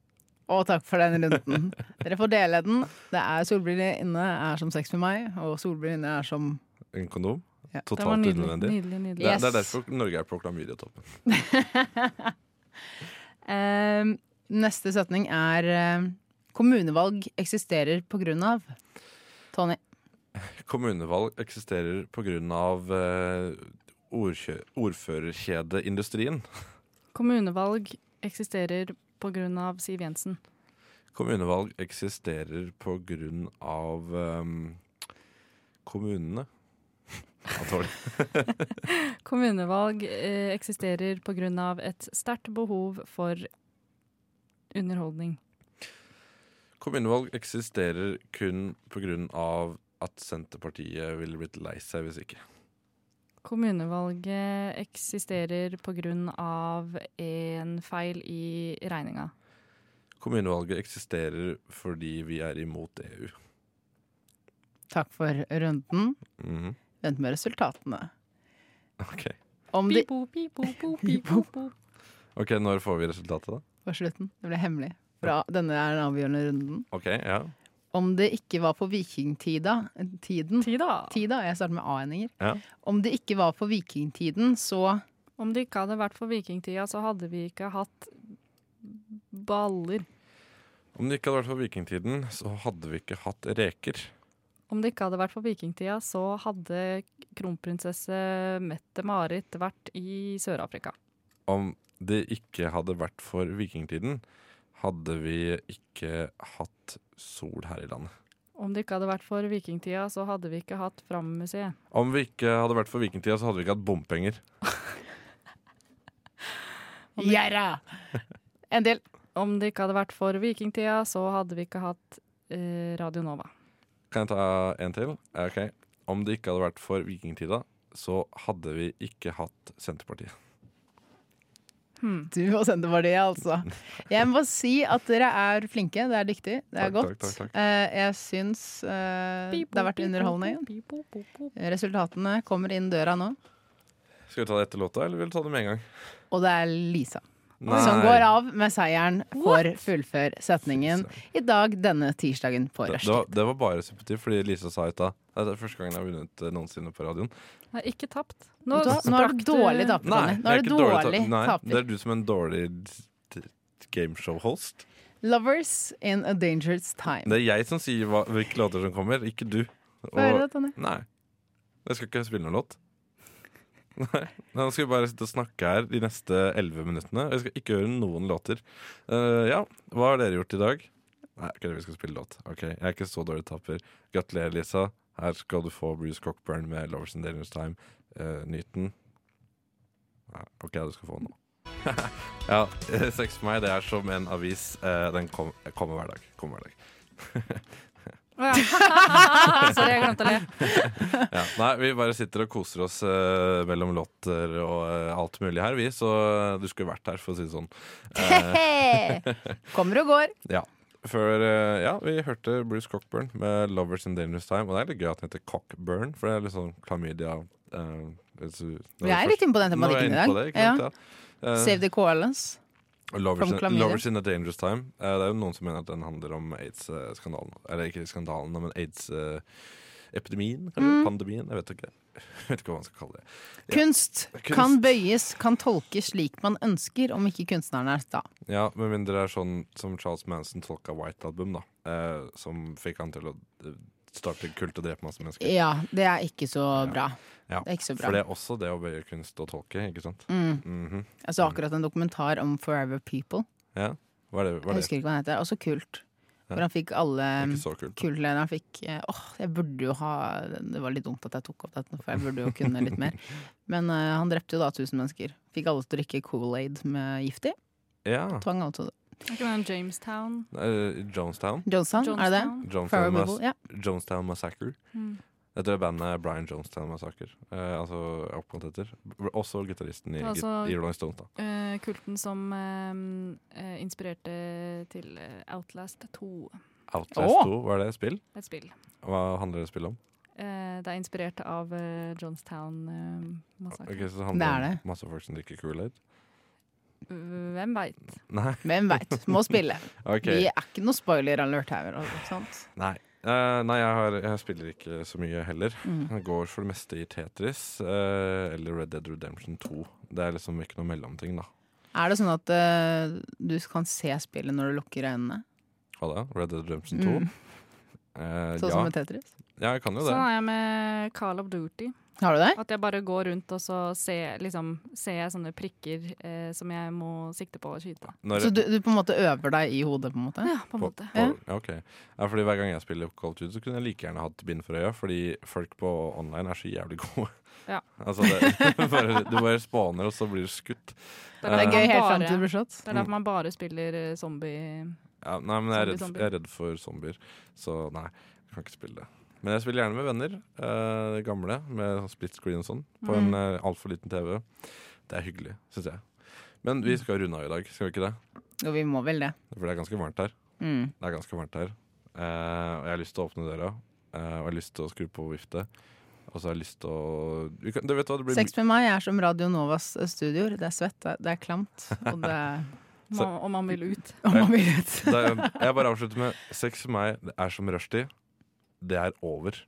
Speaker 4: Og takk for den runden. Dere får dele den. Det er solbriller inne er som sex med meg, og solbriller inne er som
Speaker 3: En kondom.
Speaker 4: Ja.
Speaker 5: Det var
Speaker 3: Totalt
Speaker 5: nydelig,
Speaker 3: unødvendig.
Speaker 5: nydelig, nydelig.
Speaker 3: Det, er- det er
Speaker 4: Yes.
Speaker 3: derfor Norge er på klamydiatoppen.
Speaker 4: Ehm, Neste setning er ehm, Kommunevalg eksisterer på grunn av Tony.
Speaker 3: Kommunevalg eksisterer pga. Eh, ordkjø- ordførerkjedeindustrien.
Speaker 5: Kommunevalg eksisterer på grunn av Siv Jensen.
Speaker 3: Kommunevalg eksisterer pga. Um, kommunene. Antagelig.
Speaker 5: Kommunevalg eh, eksisterer på grunn av et sterkt behov for underholdning.
Speaker 3: Kommunevalg eksisterer kun pga. at Senterpartiet ville blitt lei seg hvis ikke.
Speaker 5: Kommunevalget eksisterer på grunn av en feil i regninga.
Speaker 3: Kommunevalget eksisterer fordi vi er imot E EU.
Speaker 4: Takk for runden.
Speaker 3: Mhm.
Speaker 4: Vent med resultatene.
Speaker 3: Ok,
Speaker 4: Om de
Speaker 5: Pipo, pipo, po, pipo, po.
Speaker 3: Ok, Når får vi resultatet, da?
Speaker 4: På slutten. Det ble hemmelig. Fra, denne er den avgjørende runden.
Speaker 3: Ok, ja.
Speaker 4: Om det ikke var på vikingtida Tiden.
Speaker 5: Tida.
Speaker 4: Jeg starter med a-endinger.
Speaker 3: ja.
Speaker 4: Om det ikke var på vikingtiden, så
Speaker 5: Om det ikke hadde vært for vikingtida, så hadde vi ikke hatt baller.
Speaker 3: Om det ikke hadde vært for vikingtiden, så hadde vi ikke hatt reker.
Speaker 5: Om det ikke hadde vært for vikingtida, så hadde kronprinsesse Mette-Marit vært i Sør-Afrika.
Speaker 3: Om det ikke hadde vært for vikingtiden, hadde vi ikke hatt sol her i landet.
Speaker 5: Om det ikke hadde vært for vikingtida, så hadde vi ikke hatt Fram-museet.
Speaker 3: Om vi ikke hadde vært for vikingtida, så hadde vi ikke hatt bompenger.
Speaker 4: Gjerra! En del.
Speaker 5: Om det ikke hadde vært for vikingtida, så hadde vi ikke hatt eh, Radio Nova.
Speaker 3: Kan jeg ta en til? Ja, Ok. Om det ikke hadde vært for vikingtida, så hadde vi ikke hatt Senterpartiet.
Speaker 5: Hmm.
Speaker 4: Du og Senterpartiet, altså. Jeg må bare si at dere er flinke. Det er dyktig. Det er
Speaker 3: Takk,
Speaker 4: godt.
Speaker 3: takk, takk, takk.
Speaker 4: Eh, Jeg syns eh, det har vært underholdende. Resultatene kommer inn døra nå,
Speaker 3: Skal vi ta det etter låta, eller vil du ta det med en gang?
Speaker 4: og det er Lisa.
Speaker 3: Nei.
Speaker 4: Som sånn går av med seieren for fullfør setningen i dag denne tirsdagen på
Speaker 3: Det, det,
Speaker 4: Rushdie.
Speaker 3: var, det var bare subjektivt, fordi Lisa sa i stad at det er første gangen jeg har vunnet eh, noensinne på radioen.
Speaker 5: Jeg har ikke tapt.
Speaker 4: Vet du hva? Nå er
Speaker 5: sprakk
Speaker 4: du dårlig taper, Ronny. Nå
Speaker 3: jeg
Speaker 4: er du
Speaker 3: ikke ta-
Speaker 4: dårlig
Speaker 3: Nei, det
Speaker 4: taper.
Speaker 3: er du som en dårlig t- t- gameshow-host.
Speaker 4: Lovers in a dangerous time.
Speaker 3: Det er jeg som sier hva, hvilke låter som kommer, ikke du. Og-
Speaker 4: Få høre det, Tonje.
Speaker 3: Nei. Jeg skal ikke spille noen låt. Nei, Nå skal vi bare sitte og snakke her de neste elleve minuttene. Jeg skal ikke høre noen låter. Eh, ja, hva har dere gjort i dag? Nei, ikke det vi skal spille låt. Ok, Jeg er ikke så dårlig taper. Gratulerer, Lisa. Her skal du få Bruce Cockburn med 'Lovers in Dangerous Time'. Uh, nyt den. Ja, OK, du skal få den nå. ja, eh, sex for meg, det er som en avis. Eh, den kom, kommer hver dag. Kommer hver dag.
Speaker 5: Ja. Sorry, jeg glemte å le.
Speaker 3: ja. Nei, vi bare sitter og koser oss eh, mellom låter og eh, alt mulig her, vi. Så eh, du skulle vært her, for å si det sånn. Eh,
Speaker 4: Kommer og går.
Speaker 3: ja. Før, eh, ja, vi hørte Bruce Cockburn med 'Lovers in Dangerous Time'. Og det er litt gøy at den heter Cockburn, for det er litt sånn klamydia eh, hvis du-
Speaker 4: Vi er litt inne på den
Speaker 3: Nå er jeg
Speaker 4: tematikken i
Speaker 3: inne på
Speaker 4: dag.
Speaker 3: det, ikke sant? Ja.
Speaker 4: Ja.
Speaker 3: Eh,
Speaker 4: Save the koalas.
Speaker 3: og lovers,
Speaker 4: From
Speaker 3: in,
Speaker 4: klamydia.
Speaker 3: lovers in a dangerous time. Eh, det er jo noen som mener at den handler om aids-skandalen. Eller ikke skandalen, men aids-epidemien?
Speaker 4: Mm.
Speaker 3: Pandemien? Jeg vet ikke. Jeg vet ikke hva man skal kalle det. Ja.
Speaker 4: Kunst
Speaker 3: Kunst.
Speaker 4: kan bøyes, kan tolkes slik man ønsker, om ikke kunstneren er sta.
Speaker 3: Ja, Med mindre det er sånn som Charles Manson tolka White Album, da. Eh, som fikk han til å eh, starte kult og drepe masse mennesker.
Speaker 4: Ja, det er ikke så bra.
Speaker 3: Ja,
Speaker 4: Det er ikke så bra.
Speaker 3: For det er også det å bøye kunst og tolke, ikke sant?
Speaker 4: Mm.
Speaker 3: Mhm.
Speaker 4: Jeg så akkurat en dokumentar om Forever People.
Speaker 3: Ja, hva er det? Hva
Speaker 4: Jeg
Speaker 3: er det?
Speaker 4: husker um, ikke hva han heter. Også kult.
Speaker 3: Ja.
Speaker 4: Hvor han fikk alle
Speaker 3: Ikke så kult.
Speaker 4: kultlederne fikk eh, Åh, jeg burde jo ha Det var litt dumt at jeg tok opp dette, for jeg burde jo kunne litt mer. Men eh, han drepte jo da 1000 mennesker. Fikk alle til å drikke Kool-Aid med gift i.
Speaker 3: Ja.
Speaker 4: Tvang alle til det.
Speaker 5: Er ikke den Jamestown?
Speaker 3: eh, Jonestown.
Speaker 4: Johnson, er det det?
Speaker 5: Jonestown?
Speaker 3: Jonestown,
Speaker 4: Forever
Speaker 3: Mas
Speaker 4: People, ja.
Speaker 3: Jonestown Massacre.
Speaker 5: Mm.
Speaker 3: Dette er bandet Brian Jonestown Massacre. Eh, altså er oppkalt etter. Også gitaristen i,
Speaker 5: Det er altså-
Speaker 3: i Rolling Stones, da.
Speaker 5: Eh, kulten som eh, eh, inspirerte til eh, Outlast 2,
Speaker 3: Outlast
Speaker 4: Åh!
Speaker 3: 2, hva er det? Spill?
Speaker 5: et spill.
Speaker 3: Hva handler det spillet om?
Speaker 5: Eh, det er inspirert av eh, Johnstown-massakren.
Speaker 3: Ok, så det handler om masse folk som drikker Kool-Aid?
Speaker 5: Hvem veit?
Speaker 3: Nei.
Speaker 4: Hvem veit. Må spille.
Speaker 3: Ok.
Speaker 4: Vi er ikke noe spoiler-alert her. og- ikke Sant?
Speaker 3: Nei. Eh, nei, jeg, har, jeg spiller ikke så mye heller.
Speaker 4: Mm.
Speaker 3: Jeg går for det meste i Tetris eh, eller Red Dead Redemption 2. Det er liksom ikke noe mellomting, da.
Speaker 4: Er det sånn at eh, du kan se spillet når du lukker øynene?
Speaker 3: Hva da? Red Dead Redemption 2?
Speaker 4: Mm.
Speaker 3: Eh,
Speaker 4: Sånn som med Tetris?
Speaker 3: Ja, jeg kan jo det.
Speaker 5: Sånn er jeg med Call of Duty.
Speaker 4: Har du det?
Speaker 5: At jeg bare går rundt og så ser, liksom, ser jeg sånne prikker eh, som jeg må sikte på å skyte.
Speaker 3: Når-
Speaker 4: Så du, du på en måte øver deg i hodet, på en måte?
Speaker 5: Ja, på en måte.
Speaker 3: På, ja, ok. Ja, fordi Hver gang jeg spiller Call of Duty, så kunne jeg like gjerne hatt bind for øya, fordi folk på online er så jævlig gode.
Speaker 5: Ja.
Speaker 3: altså det, bare, du bare spåner, og så blir du skutt.
Speaker 5: Det er
Speaker 3: Eh,
Speaker 5: derfor man
Speaker 4: helt frem
Speaker 5: bare-
Speaker 4: til du blir slått.
Speaker 5: Det er derfor man bare spiller eh, zombie.
Speaker 3: ja, Nei, men jeg er, redd,
Speaker 5: Zombie, zombie.
Speaker 3: jeg er redd for zombier, så nei, jeg kan ikke spille det. Men jeg spiller gjerne med venner, eh, gamle, med sånn split screen og sånn, på
Speaker 5: Mm.
Speaker 3: en eh, altfor liten TV. Det er hyggelig, syns jeg. Men vi skal runde av i dag, skal vi ikke det?
Speaker 4: Jo, vi må vel det.
Speaker 3: For det er ganske varmt her.
Speaker 4: Mm.
Speaker 3: Det er ganske varmt her. Eh, og jeg har lyst til å åpne døra, eh, og jeg har lyst til å skru på vifte. Og så har jeg lyst til å vi kan, du vet hva, det blir
Speaker 4: Sex med meg er som Radio Novas eh, studioer. Det er svett, det er- det er klamt, og det er
Speaker 3: Så-
Speaker 5: Man, og man vil ut.
Speaker 4: Om man vil ut.
Speaker 3: Det er- Jeg bare avslutter med sex med meg det er som rushtid. Det er over.